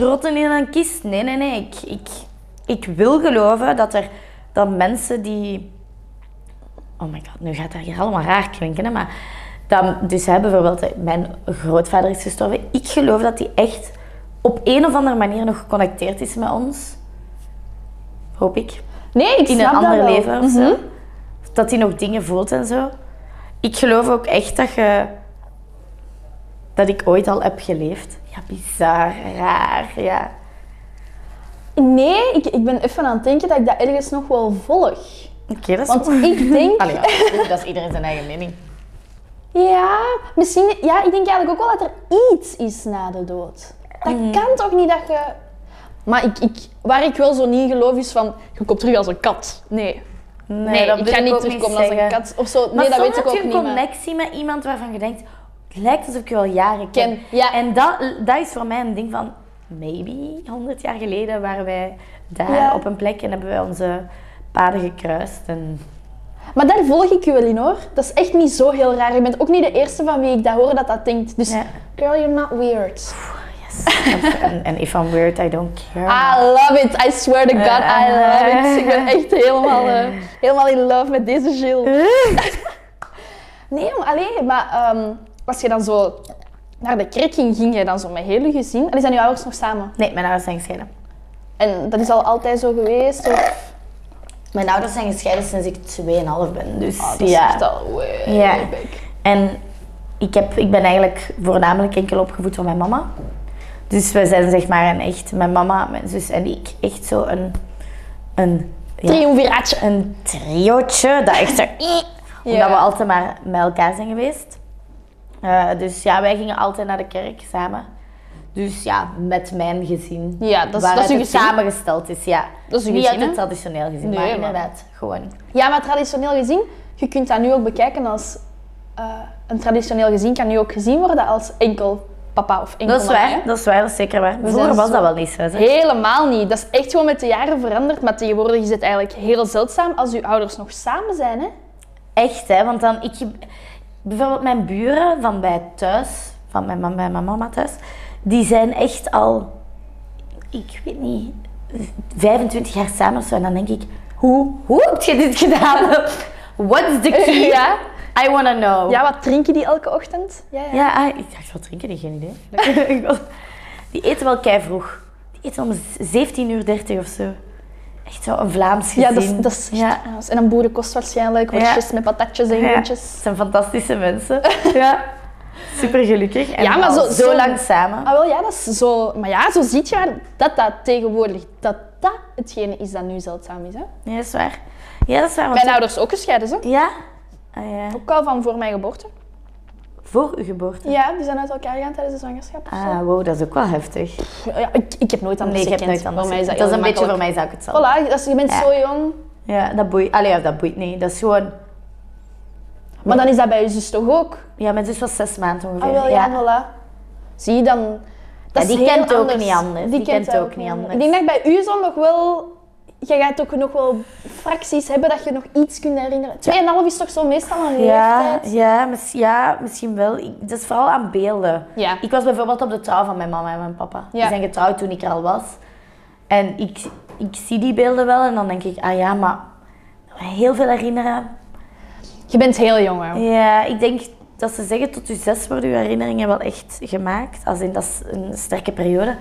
C: rotten in een kist. Nee, nee, nee. Ik, ik, ik wil geloven dat er dat mensen die... Oh my god, nu gaat dat hier allemaal raar klinken, hè, maar... Dat, dus hè, bijvoorbeeld, hè, mijn grootvader is gestorven. Ik geloof dat hij echt op een of andere manier nog geconnecteerd is met ons. Hoop ik
B: Nee, ik
C: in
B: snap
C: een
B: dat
C: ander
B: wel. Mhm.
C: leven of zo. Dat hij nog dingen voelt en zo. Ik geloof ook echt dat je... Dat ik ooit al heb geleefd. Ja, bizar, raar, ja.
B: Nee, ik, ik ben even aan het denken dat ik dat ergens nog wel volg.
C: Oké, dat is
B: Want
C: goed.
B: ik denk...
C: Allee, ja, dat is iedereen zijn eigen mening.
B: Ja, misschien...
C: Mhm.
B: Ja, ik denk eigenlijk ook wel dat er iets is na de dood. Dat kan toch niet dat je... Maar ik, ik, waar ik wel zo niet in geloof is van, je komt terug als een kat. Nee.
C: Nee,
B: ik ga niet terugkomen als een kat. Of zo. nee, dat weet ik ook
C: heb je
B: niet.
C: een
B: maar-
C: connectie met iemand waarvan je denkt, het lijkt alsof je al jaren ken.
B: Ken, ja.
C: En dat, dat is voor mij een ding van, maybe 100 jaar geleden waren wij daar
B: Ja.
C: op een plek en hebben wij onze paden gekruist. En...
B: Maar daar volg ik je wel in hoor. Dat is echt niet zo heel raar. Je bent ook niet de eerste van wie ik dat hoor dat dat denkt. Dus
C: Ja.
B: girl, you're not weird.
C: en, en if I'm weird, I don't care.
B: I love it. I swear to God, I love
C: Eh.
B: it. Ik ben echt helemaal, eh, helemaal in love met deze Jill.
C: Eh?
B: nee, maar, allee, maar ehm, als je dan zo naar de kerk ging, ging jij dan zo met heel je gezin? En zijn je ouders nog samen?
C: Nee, mijn ouders zijn gescheiden.
B: En dat is al altijd zo geweest? Of?
C: Mijn ouders zijn gescheiden sinds ik 2,5 ben. Dus
B: Ah, Dat is
C: ja.
B: echt al way
C: Ja.
B: back.
C: En ik, heb, ik ben eigenlijk voornamelijk enkel opgevoed door mijn mama. Dus we zijn zeg maar een echt, mijn mama, mijn zus en ik, echt zo een, een, ja,
B: Triumviraatje.
C: een triootje. Dat echt zo, omdat we altijd maar met elkaar zijn geweest. Eh, dus ja, wij gingen altijd naar de kerk samen. Dus ja, met mijn gezin.
B: Ja, dat is-
C: waaruit
B: dat is uw
C: het
B: gezin.
C: samengesteld is, ja.
B: Dat is uw
C: Niet
B: gezin,
C: uit het
B: hè?
C: traditioneel gezin,
B: Nee,
C: maar
B: maar-
C: inderdaad, gewoon.
B: Ja, maar traditioneel gezien, je kunt dat nu ook bekijken als... eh, een traditioneel gezin kan nu ook gezien worden als enkel papa of enkel
C: Dat is
B: mama,
C: waar,
B: hè?
C: dat is waar, dat is zeker waar.
B: zijn
C: Vroeger was
B: zo-
C: dat wel niet zo. Hè?
B: Helemaal niet. Dat is echt gewoon met de jaren veranderd. Maar tegenwoordig is het eigenlijk heel zeldzaam als uw ouders nog samen zijn. Hè?
C: Echt, hè? Want dan, ik, bijvoorbeeld mijn buren van bij thuis, van mijn, mam- bij mijn mama thuis, die zijn echt al, ik weet niet, 25 jaar samen of zo. En dan denk ik, hoe, hoe heb je dit gedaan? What's the key?
B: Ja.
C: I wanna know.
B: Ja, wat drinken die elke ochtend? Ja, ja.
C: Ja, ah, ik dacht, wat drinken die? Geen idee. die eten wel kei vroeg. Die eten om 17.30 uur of zo. Echt zo, een Vlaams gezin.
B: Ja, dat is, dat is echt
C: Ja.
B: raar. En een boerenkost waarschijnlijk,
C: Ja.
B: worstjes met patatjes en
C: Ja,
B: groentjes.
C: Het zijn fantastische mensen. ja. Super gelukkig. En
B: Ja, maar
C: al
B: zo- zo-
C: lang samen.
B: Ah wel, ja, dat is zo... Maar ja, zo ziet je haar dat dat tegenwoordig, dat dat hetgene is dat nu zeldzaam is. Hè?
C: Ja, dat is waar. Ja, dat is waar. want-
B: Mijn ouders ook gescheiden, ze.
C: Ja? Ah, ja.
B: Ook al van voor mijn geboorte.
C: Voor uw geboorte.
B: Ja, die zijn uit elkaar gegaan tijdens de zwangerschap of zo.
C: Ah, wow, dat is ook wel heftig.
B: Ja, ik, ik heb nooit anders
C: Nee, ik heb
B: gekend.
C: nooit anders.
B: Voor mij is dat,
C: dat is
B: heel
C: een beetje voor
B: gemakkelijk.
C: mij zou ik het zelf.
B: Voilà, als je bent
C: Ja.
B: zo jong,
C: Ja, dat boeit. Allee, ja, dat boeit niet. Dat is gewoon...
B: Maar dan is dat bij je zus toch ook?
C: Ja, mijn zus was zes maanden ongeveer.
B: Ah, wel, ja, voilà. Zie je dan...
C: Ja,
B: Dat is
C: die
B: heel
C: kent ook
B: anders.
C: niet anders. Die kent
B: dat
C: ook niet anders.
B: Ik denk dat bij u zal nog wel... Je gaat ook nog wel fracties hebben dat je nog iets kunt herinneren. Tweeënhalf is toch zo meestal een
C: Ja,
B: leeftijd?
C: ja, miss- ja, misschien wel. Ik, dat is vooral aan beelden.
B: Ja.
C: Ik was bijvoorbeeld op de trouw van mijn mama en mijn papa. Die
B: Ja.
C: zijn getrouwd toen ik er al was. En ik, ik zie die beelden wel en dan denk ik, ah ja, maar heel veel herinneren.
B: Je bent heel jong, hè?
C: Ja, ik denk dat ze zeggen tot je zes worden je herinneringen wel echt gemaakt. Als in, dat is een sterke periode.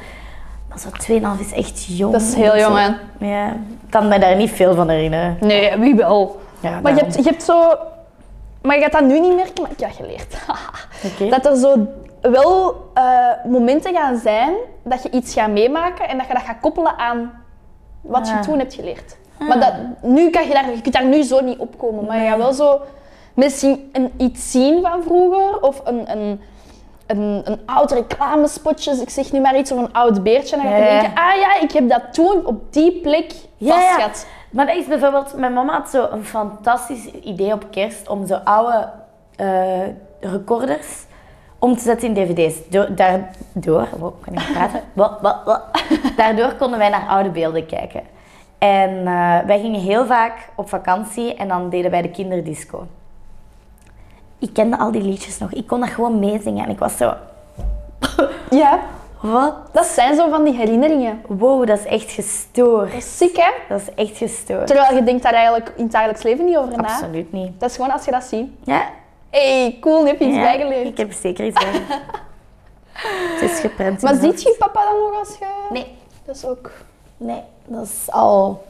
C: Maar zo 2,5 is echt jong.
B: Dat is heel jong, hè?
C: Ja, ik kan me daar niet veel van herinneren.
B: Nee, wie wel?
C: Ja,
B: Maar je
C: daarom.
B: hebt, je hebt zo... Maar je gaat dat nu niet merken, maar ik heb dat geleerd.
C: Oké.
B: Dat er zo wel eh, momenten gaan zijn dat je iets gaat meemaken en dat je dat gaat koppelen aan wat
C: Ah.
B: je toen hebt geleerd. Maar dat, nu kan je, daar, je kunt daar nu zo niet opkomen, maar je gaat wel zo misschien een, iets zien van vroeger of een, een, een, een oud reclamespotje, ik zeg nu maar iets, of een oud beertje. En dan ga je
C: Ja, ja.
B: denken, ah ja, ik heb dat toen op die plek
C: Ja, ja.
B: vastgehad.
C: Maar dat is bijvoorbeeld, mijn mama had zo een fantastisch idee op kerst om zo oude eh, recorders om te zetten in dvd's. Door, daardoor, wow, kan ik niet praten? Wa- wa- wa. Daardoor konden wij naar oude beelden kijken. En eh, wij gingen heel vaak op vakantie en dan deden wij de kinderdisco. Ik kende al die liedjes nog. Ik kon dat gewoon meezingen en ik was zo,
B: Ja,
C: wat?
B: dat zijn zo van die herinneringen.
C: Wow, dat is echt gestoord.
B: Dat is ziek, hè?
C: Dat is echt gestoord.
B: Terwijl je denkt daar eigenlijk in het dagelijks leven niet over na.
C: Absoluut niet.
B: Dat is gewoon als je dat ziet.
C: Ja,
B: hey, cool, heb je iets
C: Ja,
B: bijgeleerd.
C: Ik heb zeker iets bijgeleerd. het is geprent.
B: Maar
C: in mijn
B: ziet je papa dan nog als je...
C: hoofd. Nee,
B: Dat is ook...
C: nee, dat is al.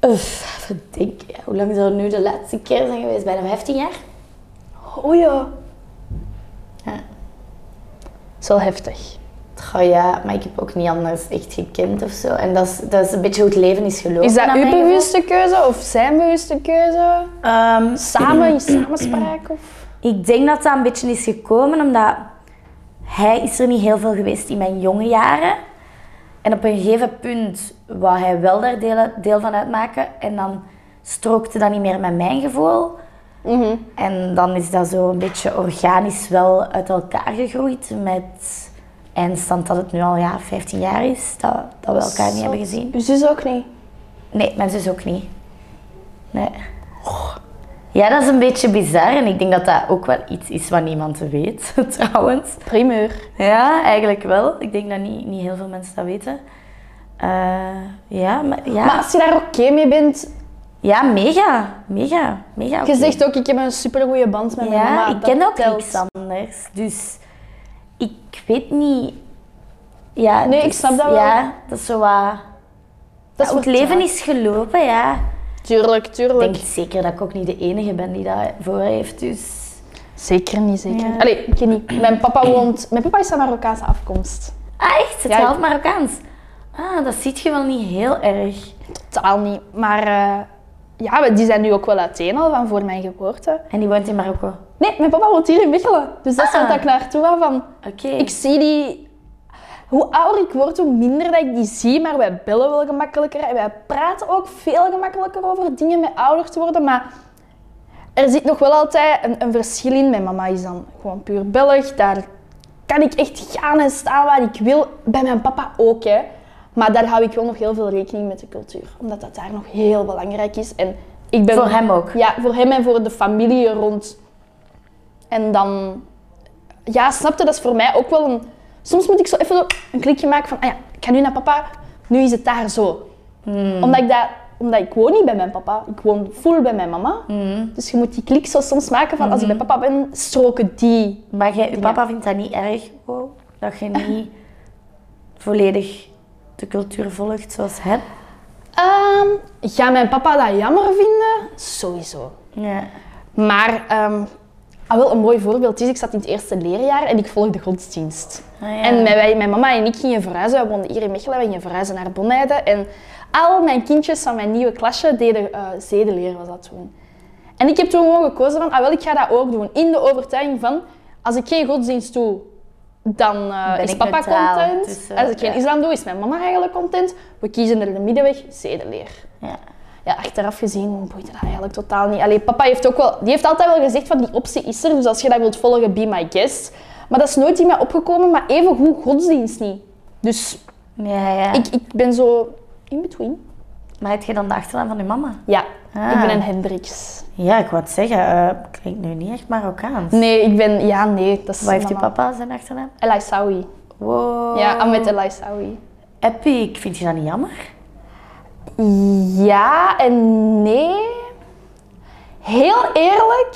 C: Uff, even denken. ja. Hoe lang zou het nu de laatste keer zijn geweest? Bijna 15 jaar?
B: Oh ja.
C: Ja.
B: Dat is wel heftig.
C: Goh, ja, maar ik heb ook niet anders echt gekend of zo. En dat is, dat is een beetje hoe het leven is gelopen.
B: Is dat
C: naar
B: uw
C: mijn gevoel.
B: bewuste keuze of zijn bewuste keuze?
C: Ehm,
B: Samen, in samenspraak of...
C: Ik denk dat dat een beetje is gekomen omdat hij is er niet heel veel geweest in mijn jonge jaren. En op een gegeven punt wou hij wel daar deel, deel van uitmaken. En dan strookte dat niet meer met mijn gevoel.
B: Mhm.
C: En dan is dat zo een beetje organisch wel uit elkaar gegroeid. Met eindstand dat het nu al ja, 15 jaar is dat, dat we elkaar niet hebben gezien.
B: Uw zus ook niet.
C: Nee, mijn zus ook niet. Nee. Ja, dat is een beetje bizar en ik denk dat dat ook wel iets is wat niemand weet, trouwens.
B: Primeur.
C: Ja, eigenlijk wel. Ik denk dat niet, niet heel veel mensen dat weten. Eh, ja, maar, ja.
B: Maar als je daar oké mee bent,
C: ja, mega, mega, mega.
B: je
C: oké.
B: zegt ook, ik heb een supergoeie band met mijn
C: Ja,
B: mama.
C: ik
B: dat
C: ken ook
B: telt.
C: niks anders. Dus ik weet niet. Ja,
B: Nee, ik
C: dus-
B: snap dat wel.
C: Ja, dat is zo wat.
B: Dat is
C: hoe het
B: vertraagd.
C: leven is gelopen, ja.
B: Tuurlijk,
C: Ik
B: tuurlijk.
C: denk zeker dat ik ook niet de enige ben die dat voor heeft. Dus
A: Zeker niet, zeker.
C: Ja.
B: Allee, ik ken niet. Mijn papa woont... Mijn papa is van Marokkaanse afkomst.
C: Ah, echt? Het
B: Ja, ik-
C: half Marokkaans? Ah, dat ziet je wel niet heel erg.
B: Totaal niet. Maar eh, ja, maar die zijn nu ook wel uiteen al van voor mijn geboorte.
C: En die woont in Marokko.
B: Nee, mijn papa woont hier in Mechelen. Dus dat is
C: Ah.
B: waar ik naartoe wou van...
C: Oké.
B: Ik zie die... Hoe ouder ik word, hoe minder dat ik die zie. Maar wij bellen wel gemakkelijker. En wij praten ook veel gemakkelijker over dingen met ouder te worden. Maar er zit nog wel altijd een, een verschil in. Mijn mama is dan gewoon puur Belg. Daar kan ik echt gaan en staan waar ik wil. Bij mijn papa ook, hè. Maar daar hou ik wel nog heel veel rekening met de cultuur. Omdat dat daar nog heel belangrijk is. En ik ben
C: Voor hem ook.
B: ja, voor hem en voor de familie rond. En dan, ja, snapte, dat is voor mij ook wel een. Soms moet ik zo even zo een klikje maken van, ah ja, ik ga nu naar papa, nu is het daar zo. Omdat, ik dat, omdat ik woon niet bij mijn papa, ik woon full bij mijn mama. Dus je moet die klik zo soms maken van, als ik bij papa ben, stroken die.
C: Maar jij, je papa vindt dat niet erg, wow, dat je niet volledig de cultuur volgt zoals hem?
B: Ehm ga mijn papa dat jammer vinden? Sowieso.
C: Ja.
B: Maar ehm, ah, wel een mooi voorbeeld is, ik zat in het eerste leerjaar en ik volgde godsdienst.
C: Ah, ja.
B: En mijn, wij- mijn mama en ik gingen verhuizen, we woonden hier in Mechelen, we gingen verhuizen naar Bonheide. En al mijn kindjes van mijn nieuwe klasje deden eh zedeleer, was dat toen. En ik heb toen gewoon gekozen van, ah wel, ik ga dat ook doen. In de overtuiging van, als ik geen godsdienst doe, dan eh,
C: Ben
B: is
C: ik
B: papa
C: neutraal,
B: content.
C: dus, eh,
B: als ik geen
C: ja.
B: islam doe, is mijn mama eigenlijk content. We kiezen er de middenweg, zedeleer
C: ja.
B: ja, achteraf gezien boeit dat eigenlijk totaal niet. Allee, papa heeft ook wel, die heeft altijd wel gezegd van die optie is er, dus als je dat wilt volgen, be my guest. Maar dat is nooit in mij opgekomen, maar even goed godsdienst niet. Dus
C: Ja, ja.
B: ik, ik ben zo in between.
C: Maar heb je dan de achternaam van je mama?
B: Ja,
C: Ah.
B: ik ben een Hendricks.
C: Ja, ik wou het zeggen, eh, klinkt nu niet echt Marokkaans.
B: Nee, ik ben, ja, nee, dat is
C: Wat heeft Oh. je
B: mama.
C: papa zijn achternaam?
B: Elaisawi.
C: Wow.
B: Ja, Ahmed Elaisawi.
C: Epic, vind je dat niet jammer?
B: Ja en nee. Heel eerlijk.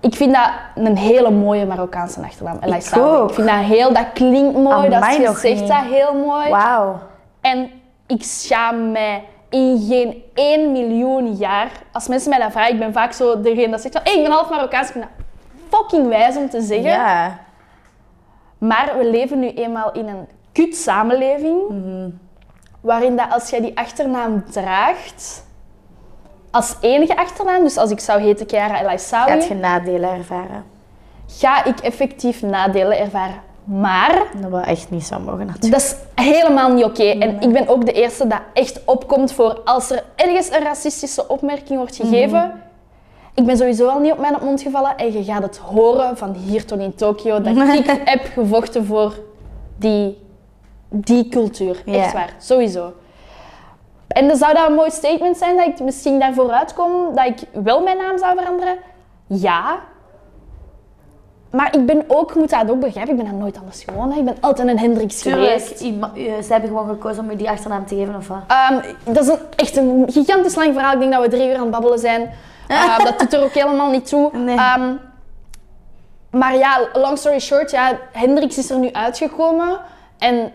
B: Ik vind dat een hele mooie Marokkaanse achternaam. El Aissaoui.
C: ook.
B: Ik vind dat heel, dat klinkt mooi,
C: Amai,
B: dat
C: nog
B: zegt
C: niet.
B: dat heel mooi.
C: Wauw.
B: En ik schaam mij in geen 1 miljoen jaar. Als mensen mij dat vragen, ik ben vaak zo degene dat zegt van, "Hey, ik ben half Marokkaans. Ik vind dat fucking wijs om te zeggen.
C: Ja.
B: Maar we leven nu eenmaal in een kut samenleving. Waarin dat als jij die achternaam draagt, als enige achternaam, dus als ik zou heten Chiara El Aissaoui,
C: Gaat je nadelen ervaren?
B: ga ik effectief nadelen ervaren. Maar
C: Dat we echt niet zou mogen natuurlijk.
B: dat is helemaal niet oké. En ik ben ook de eerste dat echt opkomt voor als er ergens een racistische opmerking wordt gegeven. Ik ben sowieso al niet op mijn mond gevallen en je gaat het horen van hier tot in Tokio dat ik heb gevochten voor die, die cultuur.
C: Ja.
B: Echt waar, sowieso. En dan zou dat een mooi statement zijn dat ik misschien daarvoor uitkom dat ik wel mijn naam zou veranderen. Ja, maar ik ben ook, je moet dat ook begrijpen, ik ben dat nooit anders gewoon. hè. Ik ben altijd een Hendricks
C: Tuurlijk,
B: geweest.
C: ima- eh, ze hebben gewoon gekozen om je die achternaam te geven of wat?
B: Ehm, dat is een, echt een gigantisch lang verhaal. Ik denk dat we drie uur aan het babbelen zijn. Ehm, dat doet er ook helemaal niet toe.
C: Nee.
B: Ehm, maar ja, long story short, ja, Hendricks is er nu uitgekomen. En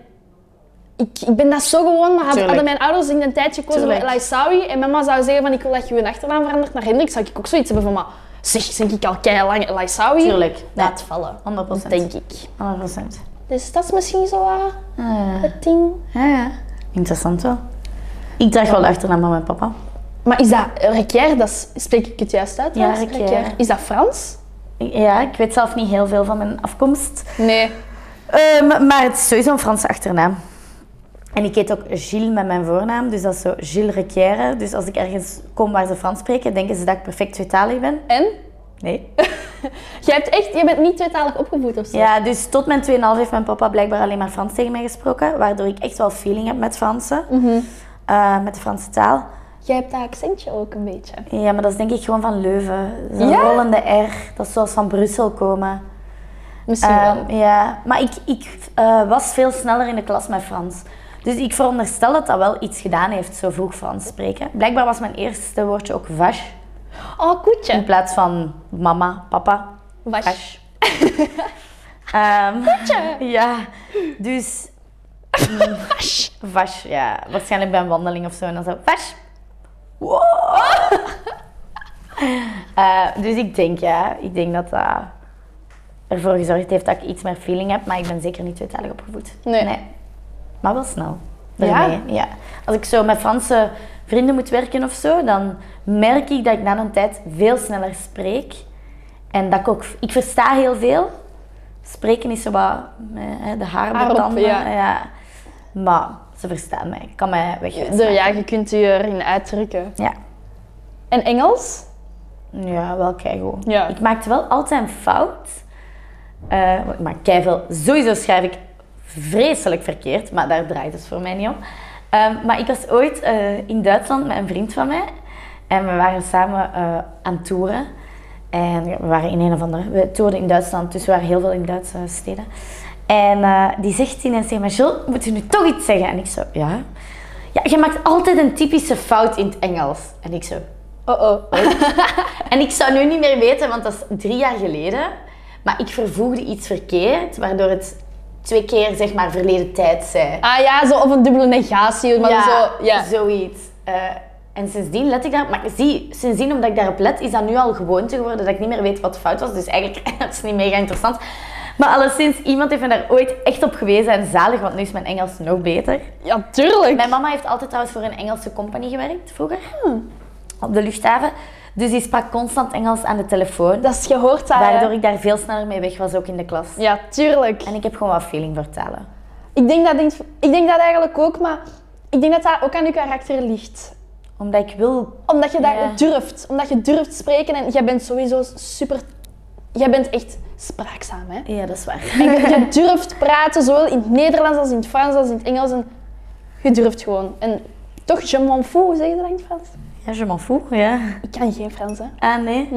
B: ik, ik ben dat zo gewoon, maar had,
A: Tuurlijk.
B: hadden mijn ouders in een tijdje gekozen voor
C: Tuurlijk.
B: Elaisawi en mama zou zeggen van ik wil dat je je achternaam verandert naar Hendricks, zou ik ook zoiets hebben van maar zeg, zeg ik al keilang Elaisawi?
C: Tuurlijk.
B: Laat vallen,
C: 100%.
B: denk ik.
C: 100%.
B: Dus dat is misschien zo wat
C: Ah,
B: het ding.
C: ja, ja. Interessant wel. Ik draag wel de achternaam van mijn papa.
B: Maar is dat Requier? Dat is- spreek ik het juist uit? trouwens?
C: Requier.
B: Is dat Frans?
C: Ik- Ja, ik weet zelf niet heel veel van mijn afkomst.
B: Nee.
C: Ehm, maar het is sowieso een Franse achternaam. En ik heet ook Gilles met mijn voornaam, dus dat is zo Gilles Requière. Dus als ik ergens kom waar ze Frans spreken, denken ze dat ik perfect tweetalig ben.
B: En?
C: Nee.
B: Je hebt echt, je bent niet tweetalig opgevoed of zo?
C: Ja, dus tot mijn 2,5 heeft mijn papa blijkbaar alleen maar Frans tegen mij gesproken, waardoor ik echt wel feeling heb met Fransen, Eh, met de Franse taal.
B: Jij hebt dat accentje ook een beetje.
C: Ja, maar dat is denk ik gewoon van Leuven. Zo'n
B: Ja?
C: rollende R, dat is zoals van Brussel komen.
B: Misschien wel.
C: Ehm, ja, maar ik, ik eh, was veel sneller in de klas met Frans. Dus ik veronderstel dat dat wel iets gedaan heeft, zo vroeg Frans spreken. Blijkbaar was mijn eerste woordje ook vache,
B: Oh,
C: in
B: koetje.
C: plaats van mama, papa.
B: Was.
C: Vache. Ehm, ja, dus... mm, Vache, ja. Waarschijnlijk bij een wandeling of zo. En dan zo, vache. Wow. Eh, dus ik denk, ja. Ik denk dat dat ervoor gezorgd heeft dat ik iets meer feeling heb. Maar ik ben zeker niet tweetalig opgevoed.
B: Nee.
C: Maar wel snel.
B: Ja?
C: Ja? ja. Als ik zo met Franse vrienden moet werken of zo, dan merk ik dat ik na een tijd veel sneller spreek. En dat ik ook... Ik versta heel veel. Spreken is zo wat... eh, De haar
B: Haar op,
C: tanden.
B: ja.
C: ja. Maar ze verstaan mij. Ik kan mij wegwijzen.
B: De, ja, je kunt je erin uitdrukken.
C: Ja.
B: En Engels?
C: Ja, wel keigoed.
B: Ja.
C: Ik maakte wel altijd een fout. Eh, want ik maak keiveel. Sowieso schrijf ik vreselijk verkeerd, maar daar draait het voor mij niet om. Ehm, maar ik was ooit eh, in Duitsland met een vriend van mij. En we waren samen eh, aan toeren. En we waren in een of andere... We toerden in Duitsland, dus we waren heel veel in Duitse steden. En eh, die zegt ineens tegen mij, Jules, moet je nu toch iets zeggen? En ik zo, ja. Ja, je maakt altijd een typische fout in het Engels. En ik zo,
B: Oh oh.
C: en ik zou nu niet meer weten, want dat is drie jaar geleden. Maar ik vervoegde iets verkeerd, waardoor het twee keer zeg maar verleden tijd zei.
B: Ah ja, zo of een dubbele negatie, maar zo. Ja.
C: zoiets. Eh, en sindsdien let ik daarop. Maar zie, sindsdien omdat ik daarop let, is dat nu al gewoonte geworden dat ik niet meer weet wat fout was. Dus eigenlijk dat is niet mega interessant. Maar alleszins, iemand heeft me daar ooit echt op gewezen en zalig, want nu is mijn Engels nog beter.
B: Ja, tuurlijk.
C: Mijn mama heeft altijd trouwens voor een Engelse compagnie gewerkt vroeger.
B: Hmm.
C: Op de luchthaven. Dus die sprak constant Engels aan de telefoon.
B: Dat is gehoord dat.
C: Waardoor ik daar veel sneller mee weg was, ook in de klas.
B: Ja, tuurlijk.
C: En ik heb gewoon wat feeling voor talen.
B: Ik denk, dat, denk- ik denk dat eigenlijk ook, maar ik denk dat dat ook aan je karakter ligt.
C: Omdat ik wil...
B: Omdat je dat
C: Ja.
B: durft. Omdat je durft spreken en jij bent sowieso super... Jij bent echt spraakzaam, hè?
C: Ja, dat is waar.
B: En je durft praten, zowel in het Nederlands als in het Frans als in het Engels. En je durft gewoon. En toch, je m'en fous, hoe zeg je dat in het Frans?
C: Ja, je m'en fout, ja.
B: Ik kan geen Frans, hè?
C: Ah, nee.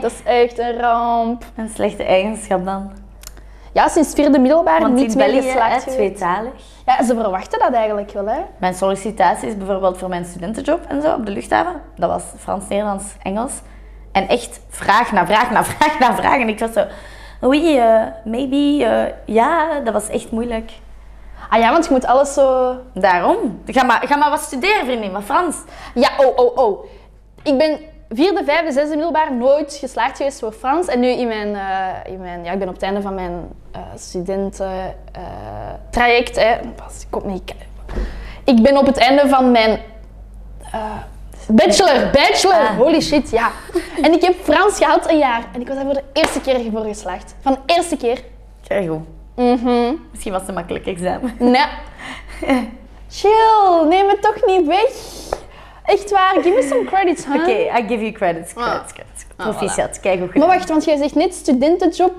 B: Dat is echt een ramp.
C: Een slechte eigenschap dan.
B: Ja, sinds vierde middelbaar
C: Want
B: niet
C: in
B: meer
C: België, hè,
B: geslaagd geweest.
C: tweetalig.
B: Ja, ze verwachten dat eigenlijk wel, hè?
C: Mijn sollicitaties bijvoorbeeld voor mijn studentenjob en zo op de luchthaven. Dat was Frans, Nederlands, Engels. En echt vraag na vraag na vraag na vraag. En ik was zo... Oei, eh, maybe, eh, ja, dat was echt moeilijk.
B: Ah ja, want je moet alles zo...
C: Daarom. Ga maar, ga maar wat studeren, vriendin, maar Frans.
B: Ja, oh, oh, oh. Ik ben vierde, vijfde, zesde middelbaar nooit geslaagd geweest voor Frans. En nu in mijn, eh, in mijn ja, ik ben op het einde van mijn eh, studententraject. hè. Pas, ik kom niet. Ik ben op het einde van mijn eh, bachelor, bachelor.
C: Ah.
B: Holy shit, ja. En ik heb Frans gehaald een jaar. En ik was daar voor de eerste keer voor geslaagd. Van de eerste keer.
C: Kijk goed.
B: Mhm.
C: Misschien was het een makkelijk examen.
B: Nee. Chill, neem het toch niet weg. Echt waar, give me some credits, huh? Ah.
C: Oké, I give you credits, credits, credits. Proficiat, kijk hoe goed.
B: Maar wacht, want jij zegt net studentenjob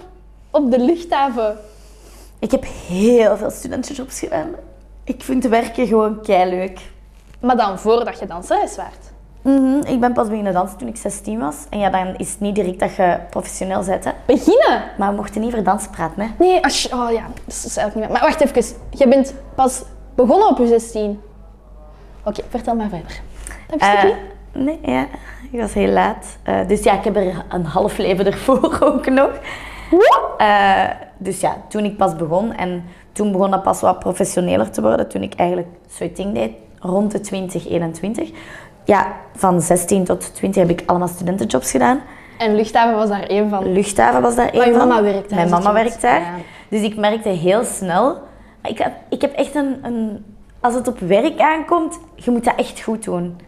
B: op de luchthaven.
C: Ik heb heel veel studentenjobs gedaan. Ik vind werken gewoon keileuk.
B: Maar dan voordat je danseres werd.
C: Mhm, ik ben pas beginnen dansen toen ik 16 was. En ja, dan is het niet direct dat je professioneel bent, hè.
B: Beginnen?
C: Maar we mochten niet over dansen praten, hè.
B: Nee, als oh ja, dat is eigenlijk niet meer. Maar wacht even, jij bent pas begonnen op je 16. Oké, vertel maar verder. Dat wist ik
C: Eh,
B: niet.
C: nee, ja. Ik was heel laat. Eh, dus ja, ik heb er een half leven ervoor ook nog. Eh, dus ja, toen ik pas begon en toen begon dat pas wat professioneler te worden, toen ik eigenlijk ding deed, rond de 2021. Ja, van 16 tot 20 heb ik allemaal studentenjobs gedaan.
B: En luchthaven was daar één van.
C: Luchthaven was daar één
B: Oh, je
C: van.
B: mama werkt daar,
C: Mijn
B: zit
C: mama
B: je met-
C: werkt daar.
B: ja.
C: Dus ik merkte heel snel... Ik, heb- ik heb echt een, een... Als het op werk aankomt, je moet dat echt goed doen.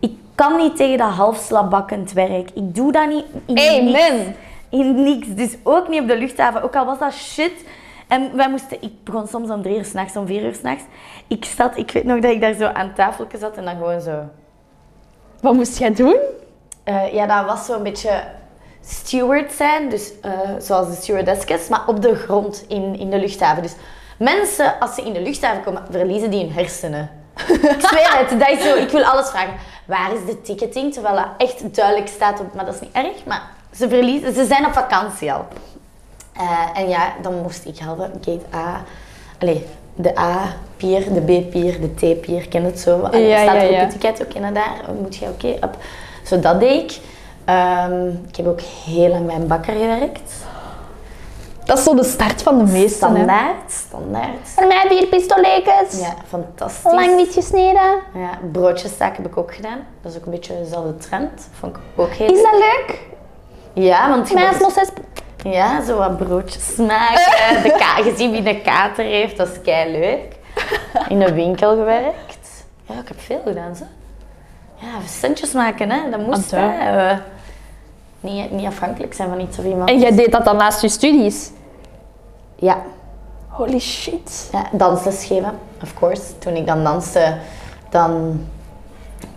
C: Ik kan niet tegen dat half slabakkend werk. Ik doe dat niet in niks.
B: Amen.
C: In niks. Dus ook niet op de luchthaven. Ook al was dat shit. En wij moesten, ik begon soms om drie uur s'nachts, om vier uur s'nachts. Ik zat, ik weet nog dat ik daar zo aan tafel zat en dan gewoon zo...
B: Wat moest jij doen?
C: Eh, ja, dat was zo'n beetje steward zijn, dus eh, zoals de stewardesses, maar op de grond in, in de luchthaven. Dus mensen, als ze in de luchthaven komen, verliezen die hun hersenen. ik zweer het, dat is zo, ik wil alles vragen. Waar is de ticketing? Terwijl dat echt duidelijk staat op, maar dat is niet erg, maar ze, verliezen, ze zijn op vakantie al. Eh, en ja, dan moest ik helpen. Gate A. Allee, de A-pier, de B-pier, de T-pier. Ken het zo? Allee,
B: Ja,
C: staat
B: ja,
C: er op
B: ja.
C: het ticket ook in daar. Moet je, oké, op. Zo, dat deed ik. Ehm, ik heb ook heel lang bij een bakker gewerkt.
B: Dat is zo de start van de meesten. hè.
C: Standaard, standaard.
E: Voor mij vier pistoletjes.
C: Ja, fantastisch.
E: Lang niet gesneden.
C: Ja, broodjeszaak heb ik ook gedaan. Dat is ook een beetje dezelfde trend. Vond ik ook heel
E: Is dat leuk?
C: Ja, Ah, want... je
E: Mij
C: moet-
E: is nog zes...
C: Ja, zo wat broodjes maken. De ka- gezien wie de kater heeft, dat is kei leuk. In een winkel gewerkt. Ja, ik heb veel gedaan, zo. Ja, centjes maken, hè. Dat moest,
B: Ah,
C: hè.
B: ja.
C: Eh, niet, niet afhankelijk zijn van iets of iemand.
E: En jij deed dat dan naast je studies?
C: Ja,
B: Holy shit.
C: ja, dansles geven, of course. Toen ik dan danste, dan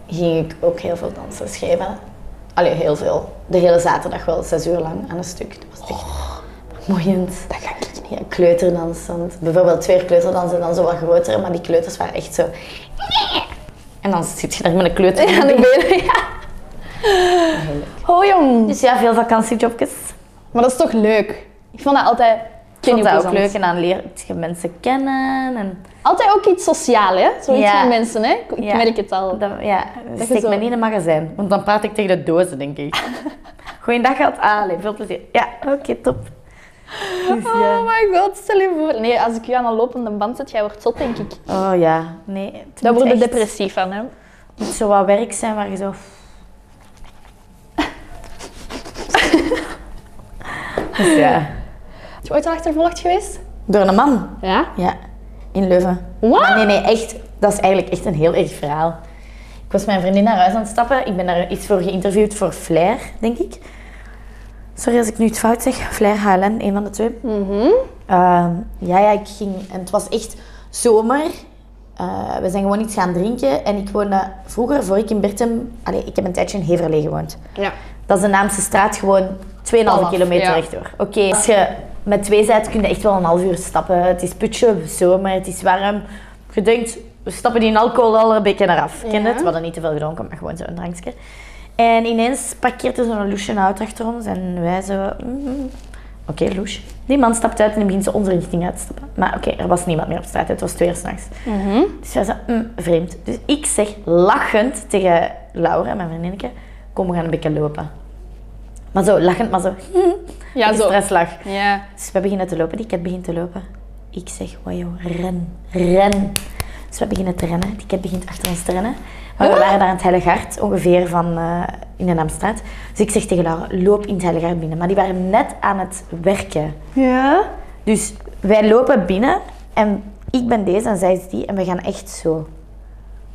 C: ging ik ook heel veel dansles geven. Allee, heel veel. De hele zaterdag wel, zes uur lang aan een stuk. Dat was echt vermoeiend. Oh. Dat ga ik niet. Ja, kleuterdans. want Bijvoorbeeld twee uur kleuterdans en dan zo wat groter, maar die kleuters waren echt zo... En dan zit je daar met een kleuter aan de benen. Ja.
B: Oh jong.
C: Dus ja, veel vakantiejobjes.
B: Maar dat is toch leuk? Ik vond dat altijd...
C: Ik vond dat ook
B: plezant.
C: leuk en dan leer je mensen kennen. En
B: Altijd ook iets sociaal, hè? Zoiets
C: Ja.
B: van mensen, hè? Ik
C: Ja.
B: merk het al.
C: Dan, ja,
B: je
C: steek
B: zo-
C: me niet in een magazijn, want dan praat ik tegen de dozen, denk ik. Goeiedag, geld. Ah, allee, veel plezier. Ja, oké, top. Dus, ja.
B: Oh my god, stel je voor. Nee, als ik u aan een lopende band zet, jij wordt zot, denk ik.
C: Oh ja, nee. het
B: Daar
C: moet
B: word je
C: echt-
B: depressief van, hè?
C: Het moet zo wat werk zijn waar je zo... dus ja.
B: Heb je ooit al achtervolgd geweest?
C: Door een man?
B: Ja.
C: Ja, in Leuven. Maar Nee, nee, echt. Dat is eigenlijk echt een heel erg verhaal. Ik was mijn vriendin naar huis aan het stappen. Ik ben daar iets voor geïnterviewd voor Flair, denk ik. Sorry als ik nu het fout zeg. Flair, HLN, een van de twee. Ehm, ja, ja, ik ging... En het was echt zomer. Eh, we zijn gewoon iets gaan drinken. En ik woonde vroeger, voor ik in Bertem... Allee, ik heb een tijdje in Heverlee gewoond.
B: Ja.
C: Dat is de Naamse straat gewoon 2,5
B: Vanaf,
C: kilometer
B: ja.
C: rechtdoor. Oké, als je met twee zijt, kun je echt wel een half uur stappen. Het is putje, zomer, het is warm. Je denkt, we stappen die alcohol al een beetje naar af. Ken je het? We hadden niet te veel gedronken, maar gewoon zo'n drankje. En ineens parkeert er zo'n loesje auto achter ons en wij zo... mm, Oké, loes. Die man stapt uit en hij begint ze onze richting uit te stappen. Maar oké, er was niemand meer op straat. Het was twee uur s'nachts.
B: Mhm.
C: Dus wij zeiden, "Mm, vreemd. Dus ik zeg lachend tegen Laura, mijn vriendinnetje, kom we gaan een beetje lopen. Maar zo, lachend, maar zo,
B: Ja,
C: een
B: zo.
C: stresslach.
B: Ja.
C: Dus we beginnen te lopen, die cat begint te lopen. Ik zeg, wajo, ren, ren. Dus we beginnen te rennen, die cat begint achter ons te rennen. Maar we waren daar aan het Heilig Hart, ongeveer van, eh, in de Amstraat. Dus ik zeg tegen Laura, loop in het Heilig Hart binnen. Maar die waren net aan het werken.
B: Ja.
C: Dus wij lopen binnen en ik ben deze en zij is die en we gaan echt zo.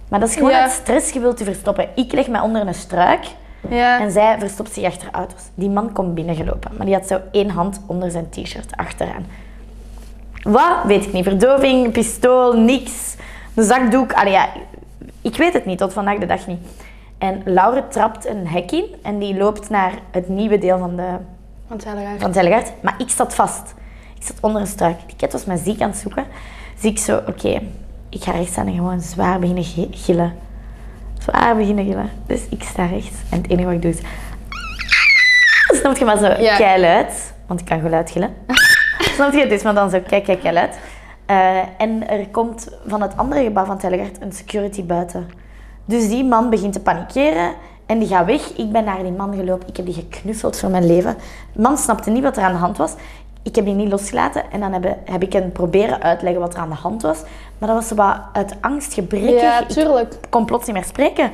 C: Maar dat is gewoon
B: Ja.
C: uit stress, je wilt je verstoppen. Ik leg mij onder een struik
B: Ja.
C: en zij verstopt zich achter auto's. Die man komt binnengelopen, maar die had zo één hand onder zijn t-shirt achteraan. Wat? Weet ik niet. Verdoving, pistool, niks. Een zakdoek. Allee, ja, ik weet het niet, tot vandaag de dag niet. En Laure trapt een hek in en die loopt naar het nieuwe deel van de
B: Want zij hadden
C: van het Heilig Hart. Maar ik zat vast. Ik zat onder een struik. Die kat was mij ziek aan het zoeken. Dus ik zo, oké, ik ga rechts staan en gewoon zwaar beginnen gi- gillen. Zwaar beginnen gillen. Dus ik sta rechts en het enige wat ik doe is... Snap je maar zo
B: Ja.
C: keiluid. Want ik kan geluid gillen. Snap je? Dus maar dan zo kijk, kijk, keiluid. Eh, en er komt van het andere gebouw van het Heilig Hart een security buiten. Dus die man begint te panikeren en die gaat weg. Ik ben naar die man gelopen. Ik heb die geknuffeld voor mijn leven. De man snapte niet wat er aan de hand was. Ik heb die niet losgelaten en dan heb, heb ik hem proberen uitleggen wat er aan de hand was. Maar dat was zo wat uit angst gebrekkig.
B: Ja,
C: Ik
B: tuurlijk.
C: kon plots niet meer spreken.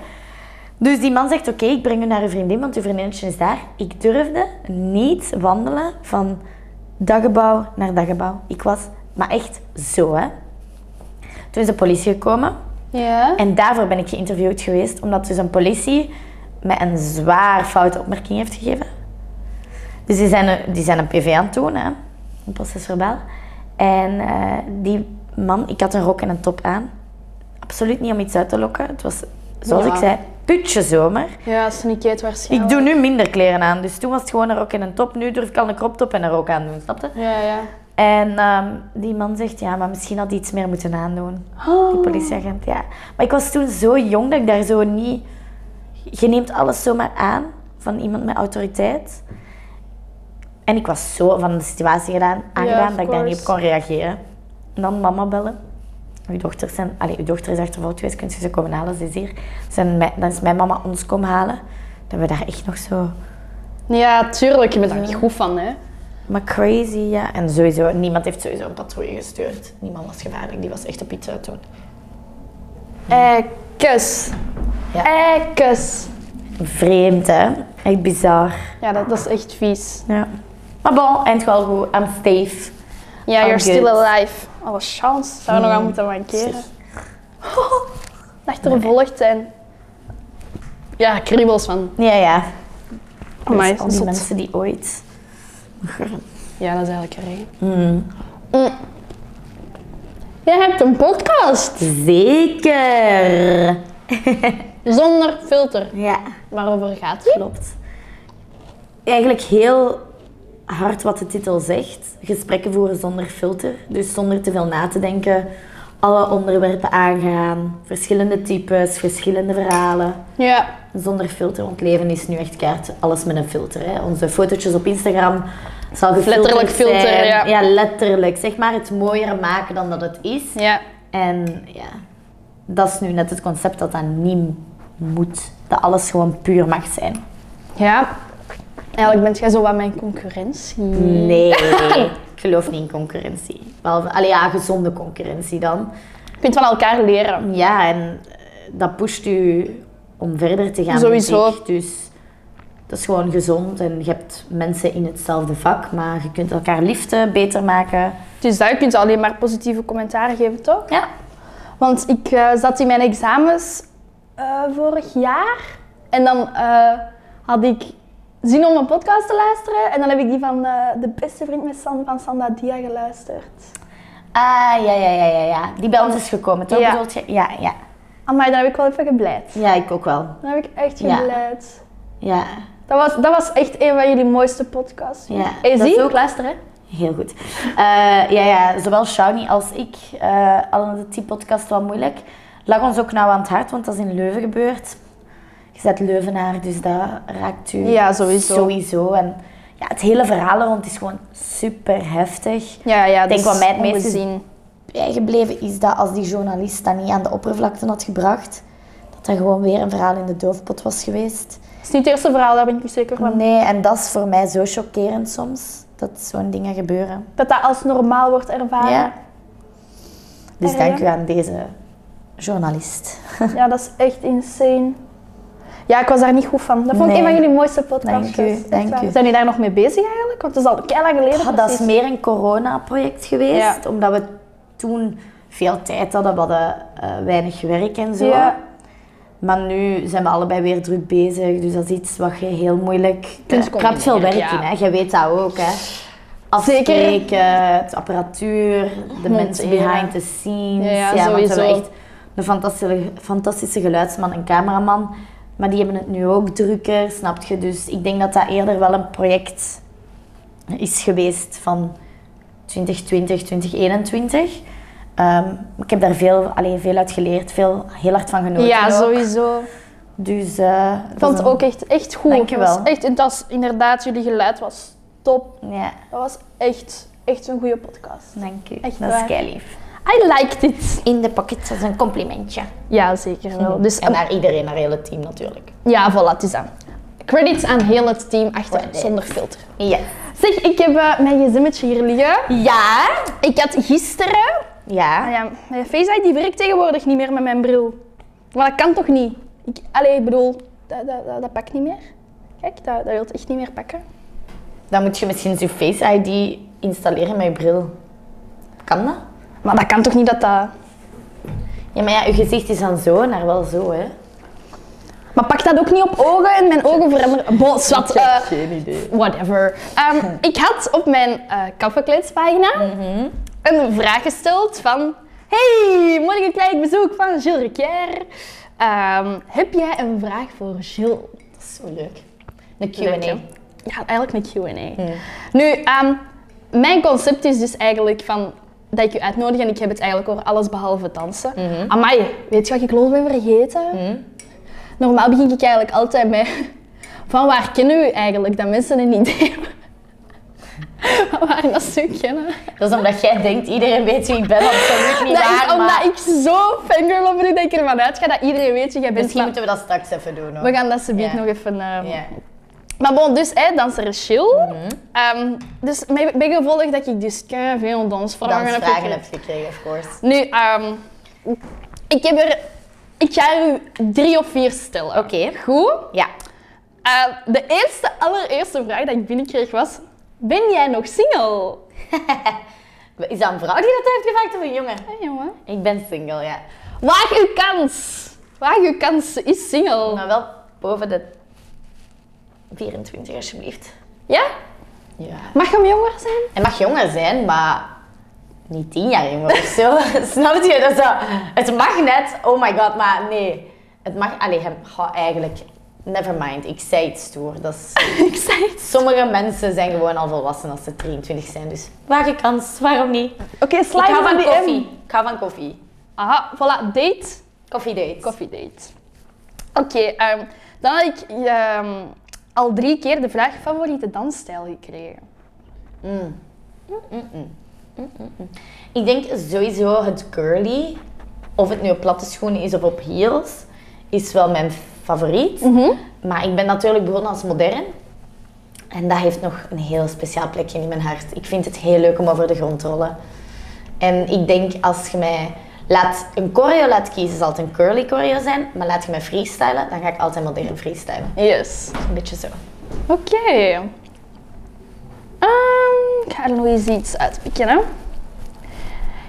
C: Dus die man zegt, oké, ik breng u naar uw vriendin, want uw vriendinnetje is daar. Ik durfde niet wandelen van daggebouw naar daggebouw. Ik was, maar echt zo, hè. Toen is de politie gekomen.
B: Ja.
C: En daarvoor ben ik geïnterviewd geweest, omdat dus een politie mij een zwaar foute opmerking heeft gegeven. Dus die zijn, een- die zijn een PV aan het doen, hè? een procesverbaal. En eh, die man, ik had een rok en een top aan. Absoluut niet om iets uit te lokken. Het was, zoals
B: Ja.
C: ik zei, putje zomer.
B: Ja, sneakeet
C: Ik
B: waarschijnlijk.
C: doe nu minder kleren aan. Dus toen was het gewoon een rok en een top. Nu durf ik al een crop top en een rok aan doen, snapte?
B: Ja, ja.
C: En ehm, die man zegt, ja, maar misschien had hij iets meer moeten aandoen.
B: Oh.
C: Die politieagent, ja. Maar ik was toen zo jong dat ik daar zo niet... Je neemt alles zomaar aan van iemand met autoriteit. En ik was zo van de situatie gedaan, aangedaan
B: of
C: dat ik daar niet op
B: course.
C: kon reageren. En dan mama bellen. Uw dochter, zijn, allee, uw dochter is achtervolgd geweest, kunt u ze komen halen? Ze is hier. Zijn, mij- dan is mijn mama ons komen halen. Dat we daar echt nog zo...
B: Ja, tuurlijk. Je bent daar niet goed van, hè.
C: Maar crazy, ja. En sowieso, niemand heeft sowieso een patrouille gestuurd. Niemand was gevaarlijk, die was echt op iets uit toen.
B: Ekkes.
C: Ja.
B: Ekkes.
C: Vreemd, hè? Echt bizar.
B: Ja, dat, dat is echt vies.
C: Ja. Maar bon, eind wel goed. I'm safe.
B: Ja, you're
C: All
B: still
C: good.
B: alive. Alle chance. Zou nog aan moeten mankeren. Echt vervolgd zijn. Ja, kriebels van.
C: Ja, ja.
B: Amai,
C: Dus al die
B: zot.
C: mensen die ooit...
B: Ja, dat is eigenlijk een regen.
E: Jij hebt een podcast.
C: Zeker!
E: Zonder filter.
C: Ja,
E: Waarover gaat het?
C: klopt. Eigenlijk heel hard wat de titel zegt. Gesprekken voeren zonder filter. Dus zonder te veel na te denken. Alle onderwerpen aangaan. Verschillende types, verschillende verhalen.
B: Ja.
C: Zonder filter, want leven is nu echt kaart alles met een filter. Hè. Onze fotootjes op Instagram zal gefilterd
B: Letterlijk filter,
C: zijn.
B: ja.
C: letterlijk. Zeg maar het mooier maken dan dat het is.
B: Ja.
C: En ja, dat is nu net het concept dat dat niet moet. Dat alles gewoon puur mag zijn.
B: Ja. Eigenlijk bent jij zo wat mijn concurrentie.
C: Nee, ik geloof niet in concurrentie. Wel, allee, ja, gezonde concurrentie dan.
B: Je kunt van elkaar leren.
C: Ja, en eh, dat pusht u om verder te gaan.
B: Sowieso.
C: denk ik. Dus dat is gewoon gezond en je hebt mensen in hetzelfde vak, maar je kunt elkaar liefde beter maken.
B: Dus daar kun je alleen maar positieve commentaren geven, toch?
C: Ja.
B: Want ik eh, zat in mijn examens eh, vorig jaar. En dan eh, had ik zin om een podcast te luisteren. En dan heb ik die van eh, de beste vriend met San, van Sanda Dia geluisterd.
C: Ah, ja, ja, ja, ja, ja. Die bij ons is gekomen, toch?
B: Ja.
C: Bedoelt je? Ja, ja.
B: Amai, dan heb ik wel even gebleid.
C: Ja, ik ook wel.
B: Dan heb ik echt
C: Ja.
B: gebleid.
C: Ja,
B: Dat, was, dat was echt een van jullie mooiste podcasts.
C: ja.
B: Hey,
C: Dat
B: zie?
C: is ook luisteren. Heel goed. Eh, ja, ja, zowel Shawnee als ik eh hadden het die podcast wel moeilijk. Lag ons ook nauw aan het hart, want dat is in Leuven gebeurd. Je bent Leuvenaar, dus dat raakt u
B: Ja, sowieso.
C: sowieso. En ja, het hele verhaal er rond is gewoon super heftig.
B: Ja, ja, dus
C: Ik denk
B: dat
C: wat
B: is
C: mij het meest is-
B: ongezien.
C: Bijgebleven is dat als die journalist dat niet aan de oppervlakte had gebracht, dat er gewoon weer een verhaal in de doofpot was geweest.
B: Het is niet het eerste verhaal, daar ben ik zeker van.
C: Nee, en dat is voor mij zo chockerend soms, dat zo'n dingen gebeuren.
B: Dat dat als normaal wordt ervaren.
C: Ja. Dus
B: Ja,
C: dank
B: ja.
C: u aan deze journalist.
B: Ja, dat is echt insane. Ja, ik was daar niet goed van. Dat vond ik
C: Nee.
B: een van jullie mooiste podcasts.
C: Dank u,
B: Echt
C: dank
B: waar.
C: u.
B: Zijn jullie daar nog mee bezig eigenlijk? Want het is al kei lang geleden.
C: Ah, dat is
B: precies.
C: meer een corona-project geweest, omdat we toen veel tijd hadden, we hadden eh, weinig werk en zo.
B: Ja.
C: Maar nu zijn we allebei weer druk bezig, dus dat is iets wat je heel moeilijk...
B: Kunt
C: Er krapt veel werk
B: combineren,
C: in,
B: ja.
C: hè. je weet dat ook. Hè. Afspreken, het apparatuur, de mensen behind the scenes.
B: Ja, ja,
C: want we
B: sowieso.
C: hebben echt een fantastische, fantastische geluidsman en cameraman. Maar die hebben het nu ook drukker, snap je? Dus ik denk dat dat eerder wel een project is geweest van 2020, 2021. Ehm, ik heb daar veel, allee, veel uit geleerd, veel, heel hard van genoten.
B: Ja,
C: ook.
B: sowieso.
C: Dus eh,
B: Ik
C: dat
B: vond
C: is
B: het
C: een-
B: ook echt, echt goed.
C: Dank je
B: Het was
C: wel.
B: Echt, het was inderdaad, jullie geluid was top.
C: Ja,
B: Dat was echt, echt een goede podcast.
C: dank u.
B: Echt
C: dat is
B: waar.
C: kei lief.
B: I liked it.
C: In de pocket, dat is een complimentje.
B: Ja, zeker wel. Dus
C: En naar iedereen, naar het hele team natuurlijk.
B: ja, voilà, het is aan. Credits aan heel het team achter
C: Credits.
B: zonder filter.
C: Ja.
B: Zeg, ik heb eh, mijn gezimmetje hier liggen.
C: Ja?
B: Ik had gisteren Ah
C: Ja.
B: ja, mijn Face ID die werkt tegenwoordig niet meer met mijn bril. Maar dat kan toch niet? Ik, allee, ik bedoel, dat, dat, dat, dat pakt niet meer. Kijk, dat, dat wil het echt niet meer pakken.
C: Dan moet je misschien je Face ID installeren met je bril. Kan dat?
B: Maar dat kan toch niet dat dat...
C: Ja, maar ja, je gezicht is dan zo naar wel zo, hè?
B: Maar pak dat ook niet op ogen en mijn ogen veranderen... Bon, zwart, eh,
C: Geen idee.
B: Hm. whatever. Ehm, ik had op mijn eh kaffeekleedspagina
E: een vraag gesteld van... Hey, moet ik een klein bezoek van Gilles Riquier? Ehm, heb jij een vraag voor Gilles?
C: Dat is zo leuk. Een
E: Leuk,
C: Q&A.
E: hè? Ja, eigenlijk een Q&A. Nu, ehm, mijn concept is dus eigenlijk van dat ik je uitnodig en ik heb het eigenlijk over alles behalve dansen.
C: Mhm.
E: Amai, weet je wat ik los ben vergeten? Normaal begin ik eigenlijk altijd met van waar kennen we u eigenlijk, dat mensen een idee hebben. van Waar dat ze u kennen.
C: Dat is omdat jij denkt, iedereen weet wie ik ben, want dat is niet
E: dat
C: waar,
E: is omdat
C: maar
E: ik zo fangirl op ben dat ik ervan uitga dat iedereen weet wie jij bent.
C: Misschien
E: maar
C: moeten we dat straks even doen, hoor.
E: we gaan dat ze
C: Ja.
E: nog even... ehm,
C: Ja.
E: Maar bon, dus hè, danser is chill.
C: Mhm.
E: Ehm, dus mij- bijgevolg dat ik dus veel dansvragen heb
C: Dansvragen
E: gekregen.
C: heb je gekregen, of course.
E: Nu, ehm, ik heb er... Ik ga er u drie of vier stellen.
C: Oké.
E: Goed?
C: Ja.
E: Eh, de eerste, allereerste vraag die ik binnenkreeg was... Ben jij nog single?
C: Is dat een vrouw die dat heeft gevraagd of een jongen?
E: Hé, jongen.
C: Ik ben single, ja.
E: Waag uw kans. Waag uw kans. Ze is single.
C: Maar wel boven de 24, alsjeblieft.
E: Ja?
C: Ja.
E: Mag hem jonger zijn?
C: Hij mag jonger zijn, maar niet tien jaar jonger of zo. Snap je? Dat is zo, het mag net, oh my god, maar nee. Het mag, allee, hem, goh, eigenlijk, never mind. Ik zei het stoer. Dat is,
E: ik zei het.
C: sommige mensen zijn gewoon al volwassen als ze 23 zijn, dus waar je kans, waarom niet?
E: Oké,
C: Ik
E: slide
C: hou
E: van
C: van
E: die
C: koffie.
E: koffie.
C: Ik hou van koffie.
E: Aha, voilà. Date.
C: Koffiedate.
E: Koffiedate. Oké, ehm, dan had ik ehm, al drie keer de vraag favoriete dansstijl gekregen.
C: Ik denk sowieso het curly, of het nu op platte schoenen is of op heels, is wel mijn favoriet. Maar ik ben natuurlijk begonnen als modern. En dat heeft nog een heel speciaal plekje in mijn hart. Ik vind het heel leuk om over de grond te rollen. En ik denk als je mij laat een choreo laat kiezen, zal het een curly choreo zijn. Maar laat je mij freestylen, dan ga ik altijd modern freestylen.
E: Yes.
C: Een beetje zo.
E: Oké. Ehm, ik ga er nog eens iets uitpikken. Hè.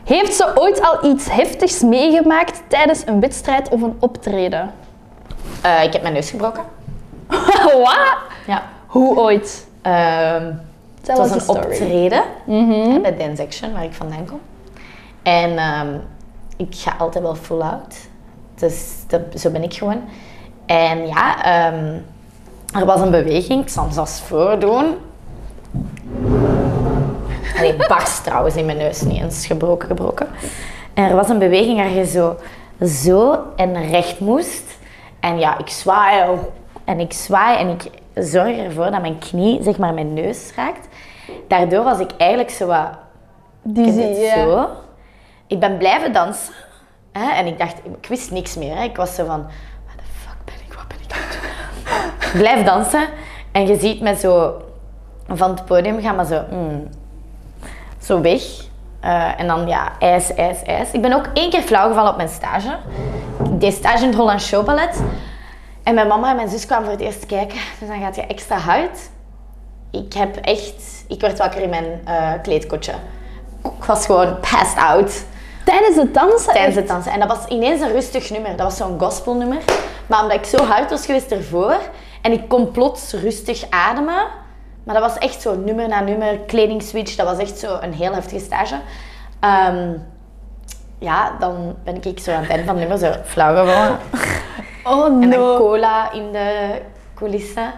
E: Heeft ze ooit al iets heftigs meegemaakt tijdens een wedstrijd of een optreden?
C: Eh, ik heb mijn neus gebroken.
E: Wat?
C: Ja.
E: Hoe ooit?
C: Ehm,
E: Tell
C: Het was
E: us a
C: een
E: story.
C: optreden hè, bij Dance Action, waar ik vandaan kom. En ehm, ik ga altijd wel full out. Dus dat, zo ben ik gewoon. En ja, ehm, er was een beweging, ik zal hem zelfs voordoen. Allee, barst trouwens in mijn neus, niet eens gebroken, gebroken. En er was een beweging waar je zo, zo en recht moest. En ja, ik zwaai oh, en ik zwaai en ik zorg ervoor dat mijn knie, zeg maar, mijn neus raakt. Daardoor was ik eigenlijk zo wat...
E: Die
C: ik
E: zie
C: dit
E: ja.
C: zo. Ik ben blijven dansen. Hè? En ik dacht, ik wist niks meer. Hè? Ik was zo van, what the fuck ben ik, wat ben ik aan het doen? Blijf dansen. En je ziet me zo van het podium gaan, maar zo... mm, zo weg. Eh, en dan ja, ijs, ijs, ijs. Ik ben ook één keer flauw gevallen op mijn stage. Ik deed stage in het Holland Showballet. En mijn mama en mijn zus kwamen voor het eerst kijken. Dus dan gaat je extra hard. Ik heb echt... Ik werd wakker in mijn eh, kleedkotje. Ik was gewoon passed out
E: Tijdens het dansen?
C: tijdens het dansen. En dat was ineens een rustig nummer. Dat was zo'n gospelnummer. Maar omdat ik zo hard was geweest ervoor en ik kon plots rustig ademen. Maar dat was echt zo nummer na nummer, kledingswitch. Dat was echt zo een heel heftige stage. Ehm, ja, dan ben ik zo aan het einde van het nummer zo flauw geworden.
E: Oh
C: En dan
E: no.
C: cola in de coulissen.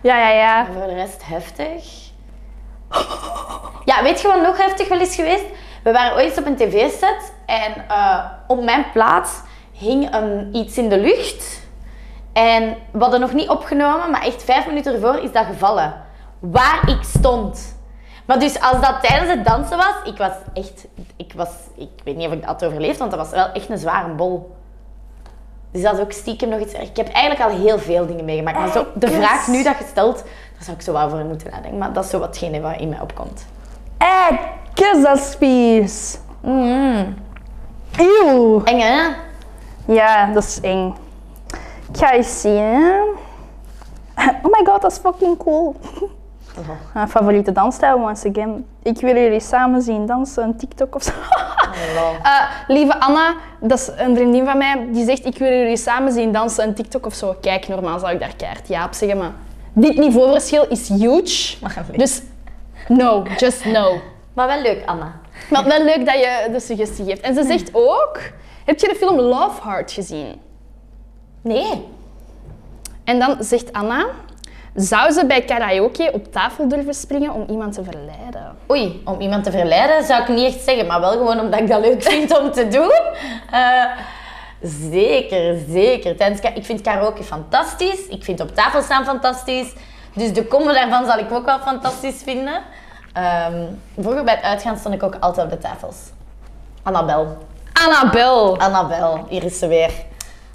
E: Ja, ja, ja.
C: En voor de rest heftig. Ja, weet je wat nog heftig wel is geweest? We waren ooit op een tv-set en eh, op mijn plaats hing een, iets in de lucht. En we hadden nog niet opgenomen, maar echt vijf minuten ervoor is dat gevallen. Waar ik stond. Maar dus als dat tijdens het dansen was, ik was echt... Ik, was, ik weet niet of ik dat had overleefd, want dat was wel echt een zware bol. Dus dat is ook stiekem nog iets... Ik heb eigenlijk al heel veel dingen meegemaakt. Maar zo, de vraag nu dat gesteld, daar zou ik zo wel voor moeten nadenken. Maar dat is zo watgene wat in mij opkomt.
E: Kus dat spies. Eeuw.
C: Eng, hè?
E: Ja, dat is eng. Ik ga eens zien. hè. Oh my god, dat is fucking cool.
C: Oh,
E: Mijn favoriete dansstijl, once again. Ik wil jullie samen zien dansen, een TikTok of zo. Eh, lieve Anna, dat is een vriendin van mij, die zegt ik wil jullie samen zien dansen, een TikTok of zo. Kijk, normaal zou ik daar keihard ja op zeggen, maar dit niveauverschil is huge. Dus no, just no.
C: Maar wel leuk, Anna.
E: Maar wel leuk dat je de suggestie geeft. En ze zegt ook, heb je de film Love Heart gezien?
C: Nee.
E: En dan zegt Anna, zou ze bij karaoke op tafel durven springen om iemand te verleiden?
C: Oei, om iemand te verleiden zou ik niet echt zeggen, maar wel gewoon omdat ik dat leuk vind om te doen. Eh, zeker, zeker. Tijdens ka- ik vind karaoke fantastisch. Ik vind op tafel staan fantastisch. Dus de combo daarvan zal ik ook wel fantastisch vinden. Ehm, vroeger bij het uitgaan stond ik ook altijd op de tafels. Annabel.
E: Annabel.
C: Annabel, hier is ze weer.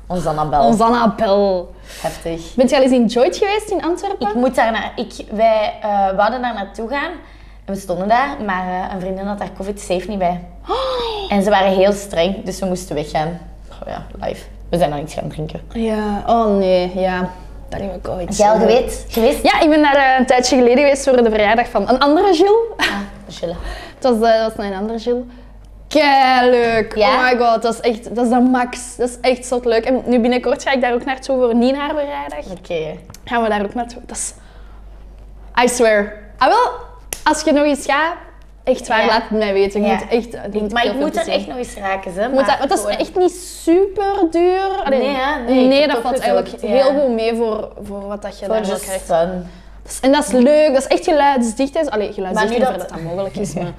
C: Onze Annabel.
E: Onze Annabel.
C: Heftig.
E: Bent je al eens in Joyt geweest in Antwerpen?
C: Ik moet daar naar. Ik, wij eh, wouden daar naartoe gaan. En we stonden daar, maar eh, een vriendin had daar COVID-safe niet bij.
E: Oh.
C: En ze waren heel streng, dus we moesten weggaan. Oh ja, live. We zijn nog iets gaan drinken.
E: Ja, oh nee, ja. Daar heb ik ooit. eh,
C: Jij al geweest? Geweest?
E: Ja, ik ben daar eh, een tijdje geleden geweest voor de verjaardag van een andere Gilles.
C: Ah, Gilles.
E: Het was, eh, dat was een andere Gilles. Kei leuk.
C: Ja?
E: Oh my god, dat is echt, dat is de max. Dat is echt zo leuk. En nu binnenkort ga ik daar ook naartoe voor Nina haar verjaardag.
C: Oké.
E: Gaan we daar ook naartoe. Dat is... I swear. Ah wel, als je nog eens gaat, echt waar,
C: Ja.
E: laat het mij weten. Je
C: Ja.
E: moet echt... je moet
C: Maar
E: heel
C: ik
E: veel
C: moet
E: te
C: er
E: zien.
C: echt nog eens raken, hè.
E: Moet dat, want dat is
C: gewoon-
E: echt niet super duur. Allee,
C: Nee, hè? Nee, ik heb
E: dat
C: het
E: valt
C: opgezocht,
E: eigenlijk
C: ja.
E: heel goed mee voor, voor wat dat je
C: Voor
E: daar wel
C: just
E: krijgt.
C: fun.
E: Dat is- En dat is leuk, dat is echt geluidsdicht. hè. Allee, geluidsdicht
C: nu
E: in
C: dat-
E: hoeverre dat mogelijk is. Maar...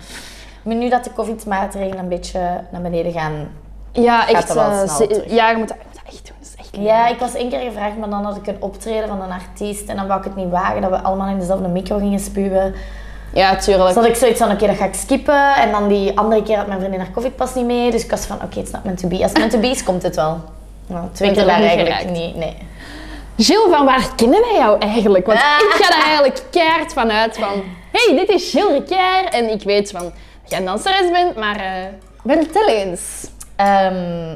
C: Maar nu dat de COVID-maatregelen een beetje naar beneden gaan.
E: Ja,
C: Gaat
E: echt.
C: dat wel
E: eh,
C: snel
E: ze-
C: terug?
E: ja, je moet dat, je moet dat echt doen. Dat is echt leuk.
C: Ja, ik was één keer gevraagd, maar dan had ik een optreden van een artiest. En dan wou ik het niet wagen dat we allemaal in dezelfde micro gingen spuwen.
E: Ja, tuurlijk.
C: Dus had ik zoiets van, oké, dat ga ik skippen. En dan die andere keer had mijn vriendin haar covidpas niet mee. Dus ik was van, oké, it's not meant to be. Als het meant to be is, komt het wel. Nou, twee
E: Wordt
C: keer
E: er
C: daar
E: niet
C: eigenlijk
E: geraakt.
C: niet, nee.
E: Gilles, van waar kennen wij jou eigenlijk? Want
C: Ah.
E: ik ga daar eigenlijk keihard van uit van... hey, dit is Gilles Ricard. En ik weet van, dat jij een danseres bent, maar... eh vertel eens.
C: Ehm,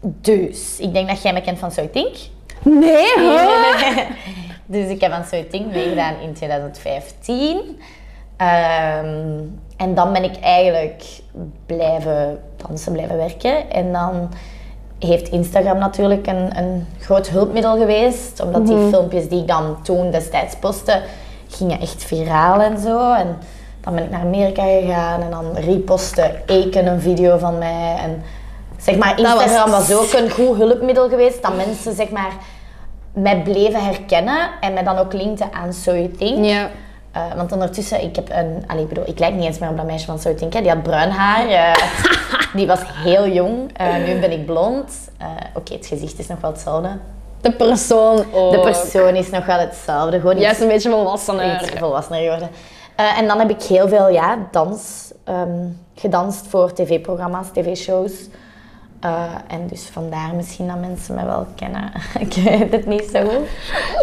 C: dus, ik denk dat jij me kent van So I Think.
E: Nee, hoor.
C: dus ik heb aan So I Think meegedaan in 2015. Ehm, en dan ben ik eigenlijk blijven dansen, blijven werken. En dan heeft Instagram natuurlijk een, een groot hulpmiddel geweest. Omdat die filmpjes die ik dan toen destijds postte, gingen echt viraal en zo. En dan ben ik naar Amerika gegaan en dan repostte Eken een video van mij. En zeg maar,
E: was
C: Instagram was, ook een goed hulpmiddel geweest. Dat mensen zeg maar mij bleven herkennen en mij dan ook linkten aan So You Think.
E: Ja.
C: Eh, want ondertussen, ik heb een... Allee, ik bedoel, ik lijk niet eens meer op dat meisje van Zou Think. hè. Die had bruin haar. eh, die was heel jong. Eh, nu ben ik blond. Eh, Oké, het gezicht is nog wel hetzelfde.
E: De persoon ook.
C: De persoon is nog wel hetzelfde. Gewoon
E: Jij
C: iets,
E: is een beetje volwassener.
C: iets volwassener geworden. Eh, en dan heb ik heel veel ja, dans ehm, gedanst voor tv-programma's, tv-shows. Eh, en dus vandaar misschien dat mensen me wel kennen. ik weet het niet zo goed.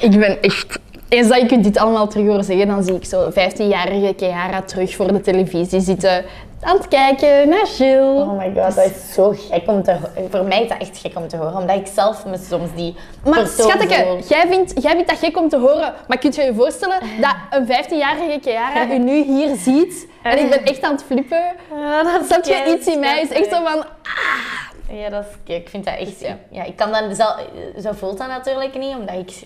E: Ik ben echt... Eens dat ik u dit allemaal terug hoor zeggen, dan zie ik zo 15-jarige Chiara terug voor de televisie zitten. Aan het kijken naar Gilles.
C: Oh my god, dat is zo gek om te horen. Voor mij is dat echt gek om te horen, omdat ik zelf me soms die
E: Maar
C: persoon
E: schatteke,
C: voel.
E: jij vindt, jij vindt dat gek om te horen, maar kunt je je voorstellen dat een 15-jarige Chiara u nu hier ziet en ik ben echt aan het flippen? Snap je,
C: kei
E: iets in mij is echt zo van...
C: Ja, dat is, ik vind dat echt... Ja, ik kan dan zelf... Zo voelt dat natuurlijk niet, omdat ik...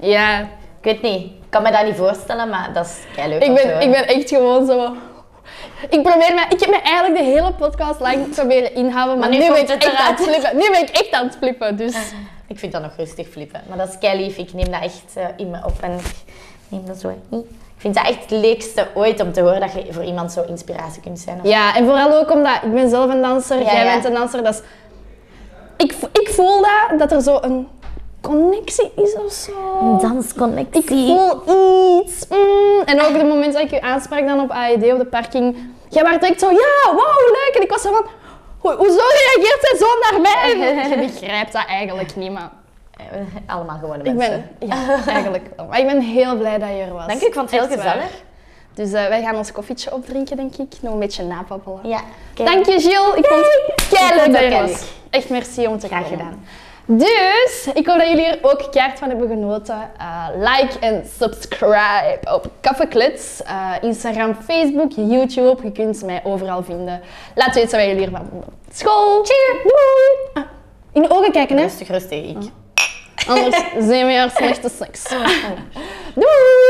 E: Ja,
C: Ik weet niet, ik kan me dat niet voorstellen, maar dat is leuk
E: ik ben, ik ben echt gewoon zo... Ik probeer mij... Ik heb me eigenlijk de hele podcast lang proberen inhouden, maar,
C: nu
E: nu, ben
C: komt
E: ik
C: het
E: echt aan het
C: eruit. Ah.
E: flippen. Nu ben ik echt aan het flippen, dus...
C: Ik vind dat nog rustig flippen, maar dat is kei lief. Ik neem dat echt eh, in me op en ik neem dat zo in. Ik vind dat echt het leukste ooit om te horen dat je voor iemand zo inspiratie kunt zijn.
E: Ja, en vooral ook omdat ik ben zelf een danser,
C: Ja,
E: jij
C: ja.
E: bent een danser. Dat is, ik, vo- ik voel dat, dat er zo een connectie is of zo.
C: dansconnectie.
E: voel iets. mm. En ook het moment dat ik u aansprak dan op AED op de parking. Jij werd direct zo, ja, wauw, leuk. En ik was zo van, "Ho- hoezo reageert zij zo naar mij? En Je begrijpt dat eigenlijk niet, maar
C: Eh, Allemaal gewone
E: ik
C: mensen.
E: ben, ja, eigenlijk wel. Maar ik ben heel blij dat je er was.
C: Dank u, ik vond het heel
E: Echt waar.
C: gezellig.
E: Dus eh, wij gaan ons koffietje opdrinken, denk ik. Nog een beetje napappelen.
C: Ja. oké.
E: Dank je, Gilles. Ik vond het
C: Ik
E: keihard
C: vond
E: dat
C: het
E: je er
C: ook
E: was. Echt merci om te
C: Graag
E: komen.
C: gedaan.
E: Dus, ik hoop dat jullie er ook keihard van hebben genoten. Eh, like en subscribe op Kaffeklits. Eh, Instagram, Facebook, YouTube. Je kunt mij overal vinden. Laat weten wat jullie ervan vonden. School! Cheer! Doei! Ah, in de ogen kijken, hè.
C: Rustig, rustig. Ik.
E: Anders zijn we er slechte seks. Doei!